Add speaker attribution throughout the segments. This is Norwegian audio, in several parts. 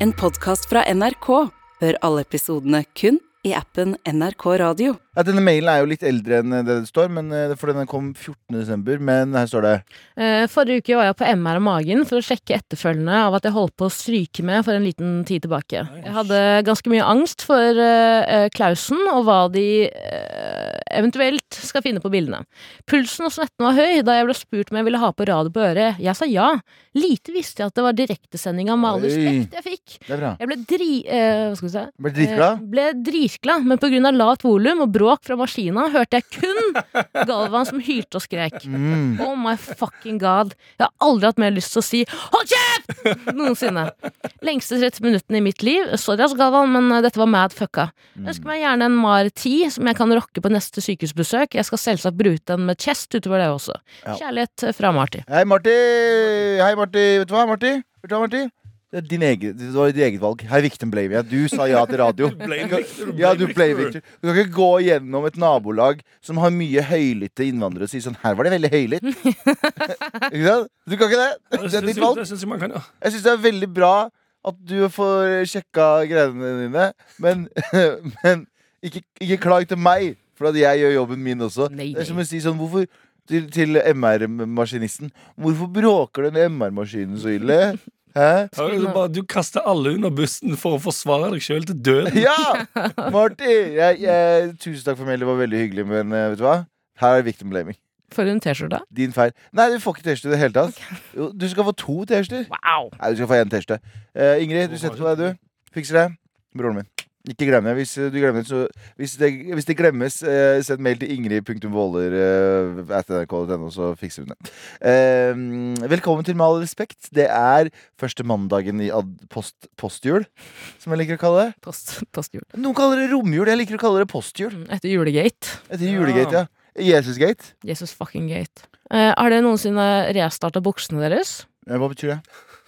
Speaker 1: En podkast fra NRK. Hør alle episodene kun i appen NRK Radio.
Speaker 2: Ja, denne mailen er jo litt eldre enn det det står, men, eh, for den kom 14.12. Men her står det
Speaker 3: Eh, Forrige uke var jeg på MR og magen for å sjekke etterfølgene av at jeg holdt på å stryke med for en liten tid tilbake. Jeg hadde ganske mye angst for eh, eh, Klausen og hva de eh, eventuelt skal finne på bildene. Pulsen og svetten var høy da jeg ble spurt om jeg ville ha på radio på øret. Jeg sa ja. Lite visste jeg at det var direktesending av Malers
Speaker 2: Oi.
Speaker 3: slekt jeg fikk.
Speaker 2: Det er bra.
Speaker 3: Jeg ble dri... Eh, hva skal vi si?
Speaker 2: Jeg ble dritglad.
Speaker 3: Eh, Ble dritglad, men pga. lavt volum og bråk fra maskina hørte jeg kun Galvan som hylte og skrek.
Speaker 2: Mm.
Speaker 3: Oh my fucking god. Jeg har aldri hatt mer lyst til å si 'hold kjeft!' noensinne. Lengste 30 minuttene i mitt liv. Sorry, ass, Galvan, men eh, dette var mad fucka. Jeg ønsker meg gjerne en Mar 10 som jeg kan rocke på neste sykehusbesøk. Jeg skal selvsagt bruke den med chest utover det også.
Speaker 2: Ja.
Speaker 3: Kjærlighet eh, fra Marty.
Speaker 2: Hei, Marti! Hei, Marti! Vet du hva, Marti? Vet du hva, Marti? Det, er din egen, det var ditt eget valg. Hei, Victim Blavia. Du sa ja til radio.
Speaker 4: Blame Victor, du
Speaker 2: Ja,
Speaker 4: blame
Speaker 2: du play
Speaker 4: Victor.
Speaker 2: Victor. Du kan ikke gå gjennom et nabolag som har mye høylytte innvandrere, og si sånn Her var det veldig høylytt. ikke sant? Du kan ikke det.
Speaker 4: Det
Speaker 2: Det er
Speaker 4: syns
Speaker 2: ditt
Speaker 4: jeg-
Speaker 2: valg.
Speaker 4: det syns jeg man kan, ja.
Speaker 2: Jeg syns det er veldig bra at du får sjekka greiene dine, men, men ikke, ikke klag til meg, for at jeg gjør jobben min også.
Speaker 3: Nei,
Speaker 2: Det er som
Speaker 3: nei.
Speaker 2: å si sånn hvorfor, til, til MR-maskinisten Hvorfor bråker den MR-maskinen så ille? Hæ?
Speaker 4: Ja, du, bare, du kaster alle under bussen for å forsvare deg sjøl til døden.
Speaker 2: Ja! Marty! Jeg, jeg, tusen takk for mail, det var veldig hyggelig, men eh, vet du hva? Her er victim blaming.
Speaker 3: Får du en T-skjorte?
Speaker 2: Din feil. Nei, du får ikke T-skjorte i det hele tatt. Jo, Du skal få to T-skjorter.
Speaker 3: Wow!
Speaker 2: Nei, du skal få én T-skjorte. Eh, Ingrid, du setter på deg, du. Fikser det. Broren min. Ikke glem det. Hvis, eh, du glemmer, det, så, hvis, det, hvis det glemmes, eh, send mail til ingrid.våler eh, at nrk.no, så fikser hun det. Eh, velkommen til Med all respekt. Det er første mandagen i ad post, postjul, som jeg liker å kalle det.
Speaker 3: Post, postjul.
Speaker 2: Noen kaller det romjul. Jeg liker å kalle det postjul.
Speaker 3: Mm, Etter julegate.
Speaker 2: Etter julegate, ja. Jesusgate.
Speaker 3: Jesus fucking gate. Eh, har dere noensinne restarta buksene deres?
Speaker 2: Eh, Hva betyr det?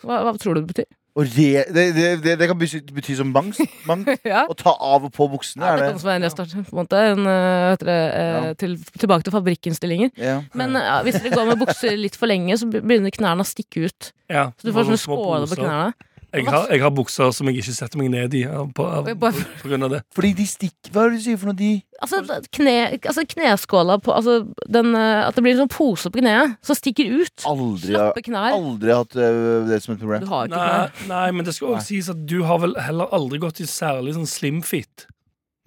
Speaker 3: Hva, hva tror du det betyr?
Speaker 2: Å re, det, det, det, det kan bety, bety som bangs. Bang.
Speaker 3: ja.
Speaker 2: Å ta av og på buksene,
Speaker 3: Ja, det
Speaker 2: er
Speaker 3: kan
Speaker 2: det?
Speaker 3: også være en restart. På en måte. En, eh, heter det, eh,
Speaker 2: Ja.
Speaker 3: til, tilbake til fabrikkinnstillinger.
Speaker 2: Ja.
Speaker 3: Men eh, ja, hvis dere går med bukser litt for lenge, så be- begynner knærne å stikke ut.
Speaker 4: Ja,
Speaker 3: Så du får
Speaker 4: bare
Speaker 3: sånne
Speaker 4: små
Speaker 3: skåler på
Speaker 4: poser.
Speaker 3: knærne.
Speaker 4: Jeg har, jeg har bukser som jeg ikke setter meg ned i av- på, av,
Speaker 3: Oi,
Speaker 4: på,
Speaker 3: bare-
Speaker 4: på grunn av det.
Speaker 2: Fordi de stikker Hva er det du sier for noe? De
Speaker 3: Altså, d- kne, altså kneskåla på altså, den, eh, At det blir en sånn pose på kneet som stikker ut.
Speaker 2: aldri har
Speaker 3: Slappe knær.
Speaker 2: aldri hatt øh, det som et problem.
Speaker 3: Du har ikke
Speaker 4: Nei,
Speaker 3: knær.
Speaker 4: nei, men det skal
Speaker 2: Nei.
Speaker 4: også sies at du har vel heller aldri gått i særlig sånn slim fit.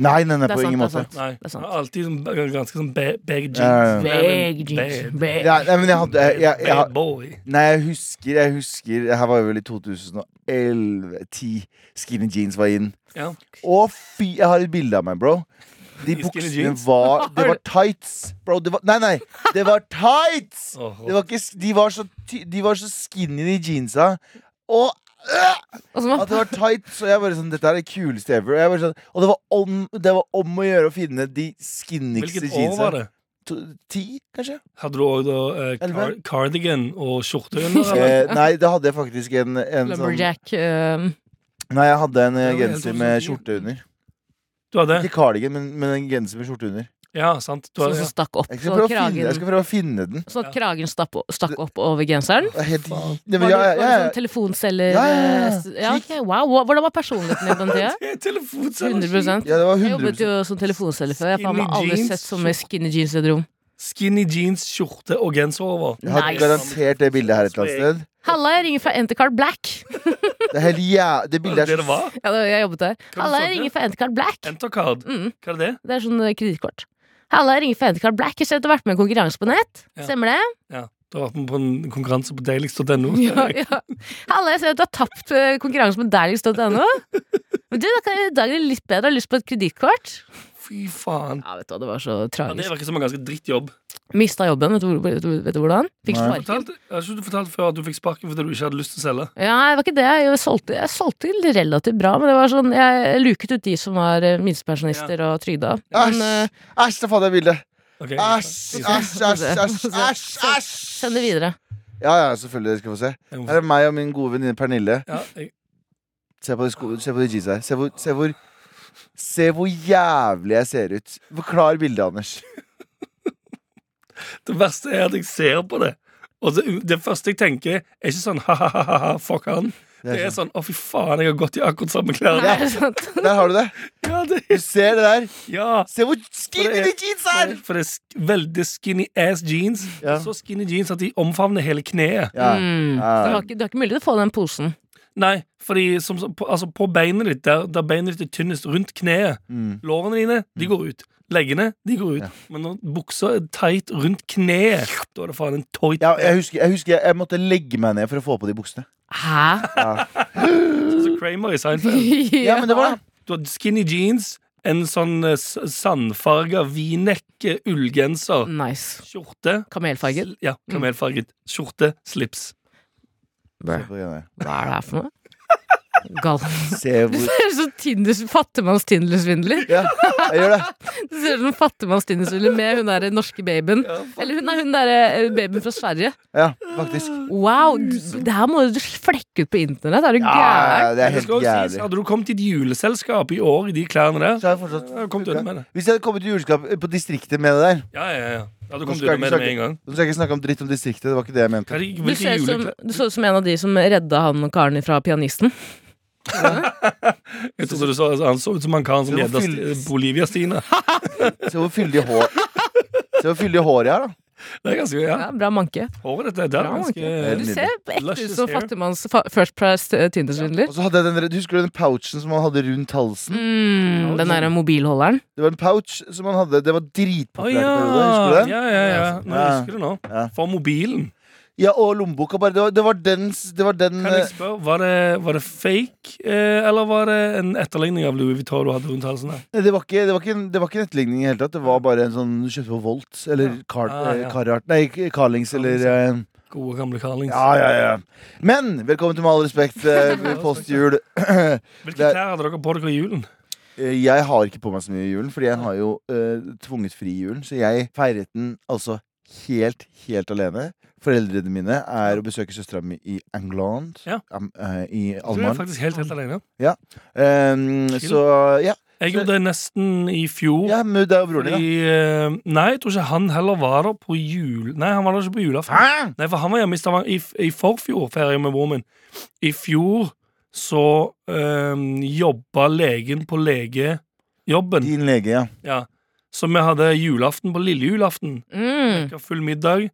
Speaker 2: Nei, nei, nei,
Speaker 3: Det er
Speaker 2: på
Speaker 3: sant,
Speaker 2: ingen
Speaker 3: det er
Speaker 2: måte.
Speaker 3: sant.
Speaker 4: Nei,
Speaker 3: er sant.
Speaker 4: jeg har Alltid sånn, ba- ganske sånn ba- bag jeans.
Speaker 2: Ja, ja, ja.
Speaker 4: Bag
Speaker 3: Bag jeans. Bag.
Speaker 2: Ja, nei, men jeg hadde jeg, jeg, jeg,
Speaker 4: Bad boy.
Speaker 2: Nei, jeg husker, jeg husker Her var jo vel i 2011-10. Skinny jeans var inn.
Speaker 4: Ja.
Speaker 2: Å fy, jeg har et bilde av meg, bro. De
Speaker 4: I skinny
Speaker 2: buksene
Speaker 4: jeans?
Speaker 2: var Det var tights, bro. Det var, nei, nei, det var tights!
Speaker 4: Åh.
Speaker 2: Det var ikke, s- de, var så, ty- de var så skinny, de jeansa. Og øh,
Speaker 3: Altså, man,
Speaker 2: at det var tight, så jeg bare sånn Dette er det kuleste ever. Og, jeg bare sånn, og det, var om, det var om å gjøre å finne de skinnigste
Speaker 4: Hvilket år var
Speaker 2: jeansa.
Speaker 4: det?
Speaker 2: To- Ti, kanskje?
Speaker 4: Hadde du òg da eh, car
Speaker 2: Elleve?
Speaker 4: cardigan og skjorte under? eller?
Speaker 2: Eh, nei, da hadde jeg faktisk en, en sånn
Speaker 3: Lumberjack eh,
Speaker 2: Nei, jeg hadde en eh,
Speaker 4: Det sånn var helt
Speaker 2: genser med
Speaker 4: 2010.
Speaker 2: skjorte under.
Speaker 4: Du hadde?
Speaker 2: Ikke cardigan, men, men en genser med skjorte under.
Speaker 4: Ja, sant. Du
Speaker 3: sånn
Speaker 4: hadde,
Speaker 3: som
Speaker 4: ja.
Speaker 3: stakk opp.
Speaker 2: Jeg skal
Speaker 3: Sånn
Speaker 2: prøve å
Speaker 3: at
Speaker 2: finne, jeg
Speaker 3: kragen,
Speaker 2: skal prøve å finne den.
Speaker 3: sånn at kragen stakk opp, stakk opp over genseren.
Speaker 2: Det er helt Nei, men
Speaker 3: Var du,
Speaker 2: ja,
Speaker 3: var
Speaker 2: ja,
Speaker 3: du
Speaker 2: ja,
Speaker 3: sånn telefonselger?
Speaker 2: Ja, ja, ja.
Speaker 3: eh, ja, ok, wow. Hva- Hvordan var personligheten din på den tida?
Speaker 4: Det er telefonselger.
Speaker 3: 100
Speaker 2: ja, det var
Speaker 3: Jeg jobbet
Speaker 2: 100
Speaker 3: jo som telefonselger før. Jeg har faen meg
Speaker 4: Skinny
Speaker 3: aldri
Speaker 4: jeans,
Speaker 3: sett så mye skinny jeans i et rom.
Speaker 4: Skinny jeans, skjorte og genser over.
Speaker 2: Jeg hadde
Speaker 3: Nice.
Speaker 2: garantert det bildet her et eller annet sted.
Speaker 3: Halla, jeg ringer fra Entercard Black.
Speaker 2: Det, er helt, jæ... det
Speaker 4: Var det
Speaker 2: bildet
Speaker 4: det
Speaker 2: er
Speaker 4: det
Speaker 2: så
Speaker 4: var?
Speaker 3: Ja, da, jeg jobbet der.
Speaker 4: du
Speaker 3: Halla,
Speaker 4: sa
Speaker 3: jeg
Speaker 4: det?
Speaker 3: ringer fra Entercard Black.
Speaker 4: Entercard.
Speaker 3: Mm,
Speaker 4: Hva er det?
Speaker 3: det er sånn eh, kredittkort. Halla, jeg ringer fra Entercard Black. Jeg ser at du har vært med i en konkurranse på nett.
Speaker 4: Ja.
Speaker 3: Stemmer det?
Speaker 4: Ja, Du har vært med på en konkurranse på deiligst.no.
Speaker 3: Ja, ja. Halla, jeg ser at du har tapt eh, konkurransen på derligst.no. Men du, da kan jeg i dag er det litt bedre. Jeg har lyst på et kredittkort.
Speaker 4: Fy faen.
Speaker 3: Ja, vet du hva, det var så
Speaker 4: Ja, det
Speaker 3: tragisk.
Speaker 4: virker som en ganske drittjobb.
Speaker 3: Mista jobben, vet du, hvor- vet du, vet du hvordan? Fikk
Speaker 2: Nei.
Speaker 3: sparken.
Speaker 4: Fortalte, jeg har ikke du fortalt før at du fikk sparken fordi du ikke hadde lyst til å selge?
Speaker 3: Ja, det var ikke det. Jeg solgte, jeg solgte relativt bra, men det var sånn, jeg luket ut de som var eh, minstepensjonister og trygda. Men, eh,
Speaker 2: Æsj! Æsj, da fant jeg bildet!
Speaker 4: Ok.
Speaker 2: Æsj, æsj, æsj, æsj, æsj! æsj.
Speaker 3: send det videre.
Speaker 2: Ja, ja, selvfølgelig. Dere skal få se.
Speaker 4: Jeg må-
Speaker 2: Her er meg og min gode venninne Pernille.
Speaker 4: Ja, jeg,
Speaker 2: Se på de, sko se på de jeansa her. Se hvor, se, hvor, se hvor jævlig jeg ser ut. Forklar bildet, Anders.
Speaker 4: det verste er at jeg ser på det. Og det, det første jeg tenker, er ikke sånn ha-ha-ha, fuck han.
Speaker 2: Det
Speaker 4: Det
Speaker 2: er
Speaker 4: er
Speaker 2: sant.
Speaker 4: sånn Å, fy faen, jeg har gått i akkurat samme klær.
Speaker 3: Nei, sant?
Speaker 2: Der har du det.
Speaker 4: Ja, det
Speaker 2: Du ser det der.
Speaker 4: Ja.
Speaker 2: Se hvor skinny de
Speaker 4: For det- Mm.
Speaker 2: jeansa
Speaker 4: For
Speaker 2: er!
Speaker 4: det, for det er sk veldig skinny ass jeans.
Speaker 2: Ja.
Speaker 4: Så skinny jeans at de omfavner hele kneet.
Speaker 2: Ja.
Speaker 3: Mm. Du,
Speaker 2: Ja.
Speaker 3: har ikke, du har ikke mulighet til å få den posen.
Speaker 4: Nei, fordi som, som- på, altså på beinet ditt, der, der beinet ditt er tynnest, rundt kneet
Speaker 2: Mm.
Speaker 4: Lårene dine, de går ut. Leggene, de går ut.
Speaker 2: Ja.
Speaker 4: Men når buksa er tight rundt kneet, da er det faen en toit.
Speaker 2: Ja, jeg husker, jeg husker jeg måtte legge meg ned for å få på de buksene.
Speaker 3: Hæ?
Speaker 2: Ja,
Speaker 4: Sånn som Kramer i Seinfeld.
Speaker 2: ja men det var det.
Speaker 4: Du har skinny jeans, en sånn eh, s- sandfarga v-neck, ullgenser,
Speaker 2: Mm.
Speaker 3: Nice.
Speaker 4: skjorte
Speaker 3: Kamelfarget.
Speaker 4: sl- Ja, kamelfarget. Skjorte, slips.
Speaker 3: Hva
Speaker 2: Se på greiene.
Speaker 3: hva er det her for noe? Gal.
Speaker 2: Se
Speaker 3: Du
Speaker 2: hvor
Speaker 3: ser ut som Tinders, fattigmanns Tindersvindler.
Speaker 2: Ja, jeg gjør det.
Speaker 3: Du ser ut som fattigmanns Tindersvindler med hun derre norske babyen. Eller hun, nei, hun derre babyen fra Sverige.
Speaker 2: Ja, faktisk.
Speaker 3: Wow! d- Det her må du flekke ut på internett. Er du
Speaker 2: Ja,
Speaker 3: gæren?
Speaker 2: det er
Speaker 4: Det
Speaker 2: helt
Speaker 4: skal jo sies,
Speaker 2: jævlig.
Speaker 4: Hadde du kommet i et juleselskap i år i de klærne der
Speaker 2: Så har jeg fortsatt
Speaker 4: Jeg hadde kommet unna med det.
Speaker 2: Hvis jeg hadde kommet til juleskap på distriktet med det der
Speaker 4: Ja, ja, ja. Jeg hadde
Speaker 2: Nå
Speaker 4: kommet
Speaker 2: skal
Speaker 4: unna
Speaker 2: jeg
Speaker 4: med
Speaker 2: ikke
Speaker 4: det med en gang.
Speaker 2: Nå skal jeg ikke snakke om dritt om distriktet, det var ikke det jeg mente.
Speaker 4: Hva er det-
Speaker 3: Du
Speaker 4: hvilke
Speaker 3: ser ut som, du
Speaker 4: juleklær-
Speaker 3: så ut som en av de som redda han karen fra pianisten.
Speaker 4: Jeg trodde du så altså, Han så ut som han karen som
Speaker 2: Det var
Speaker 4: gjedda eh,
Speaker 2: fyll-
Speaker 4: Sti- Bolivia-Stine.
Speaker 2: Se hvor fyldig hår Se hvor fyldig hår jeg har, da.
Speaker 4: Det er ganske ja.
Speaker 3: Ja, bra manke.
Speaker 4: Håret dette der er
Speaker 3: Bra,
Speaker 4: ganske
Speaker 2: Helt
Speaker 3: Du
Speaker 2: nydelig.
Speaker 3: ser ekte ut
Speaker 4: Luscious
Speaker 3: som
Speaker 4: hair.
Speaker 3: fattigmanns fa- First Price eh, Tindersvindler.
Speaker 2: Og så hadde jeg den, der- Husker du den pouchen som han hadde rundt halsen?
Speaker 3: Mm, den derre mobilholderen.
Speaker 2: Det var en pouch som han hadde Det var
Speaker 4: Å
Speaker 2: dritpopulært. i perioden, Husker du
Speaker 4: ja.
Speaker 2: det?
Speaker 4: ja, ja, ja. Nå
Speaker 2: Ja.
Speaker 4: husker du nå.
Speaker 2: Ja.
Speaker 4: For mobilen.
Speaker 2: Ja, og lommeboka bare. Det var, det var den Det var den
Speaker 4: Kan jeg
Speaker 2: eh,
Speaker 4: spørre, var det, var det fake, eh, eller var det en etterligning av Louis Vuitton du hadde rundt halsen? der?
Speaker 2: Det var ikke, det var ikke, en- det var ikke en etterligning i det hele tatt. Det var bare en sånn du kjøpte på Volt eller Car,
Speaker 4: Ah, ja.
Speaker 2: eh, Carhartt Nei, Carlings eller eh,
Speaker 4: Gode, gamle Carlings.
Speaker 2: Ja, ja, ja. Men velkommen til Med all respekt, eh, postjul.
Speaker 4: Hvilke
Speaker 2: det er-
Speaker 4: klær hadde dere på dere i julen?
Speaker 2: Eh, Jeg har ikke på meg så mye i julen, fordi jeg har jo eh, tvunget fri i julen. Så jeg feiret den altså helt, helt alene. Foreldrene mine er å besøke søstera mi i England.
Speaker 4: Ja.
Speaker 2: am- eh, I
Speaker 4: Du er
Speaker 2: Alman.
Speaker 4: faktisk helt, helt alene.
Speaker 2: Eh, så ja.
Speaker 4: Jeg gjorde det nesten i fjor.
Speaker 2: ja men det er jo broren din, da.
Speaker 4: Oh. Fordi, eh, nei, jeg tror ikke han heller var der på jul... Nei, han var der ikke på julaften.
Speaker 2: Hæ?
Speaker 4: Nei, for han var hjemme i Stavanger i, f- i forfjor, ferie med broren min. I fjor så eh, jobba legen på legejobben.
Speaker 2: Din lege, ja.
Speaker 4: Ja. Så vi hadde julaften på lille julaften.
Speaker 3: Mm.
Speaker 4: Fikk full middag.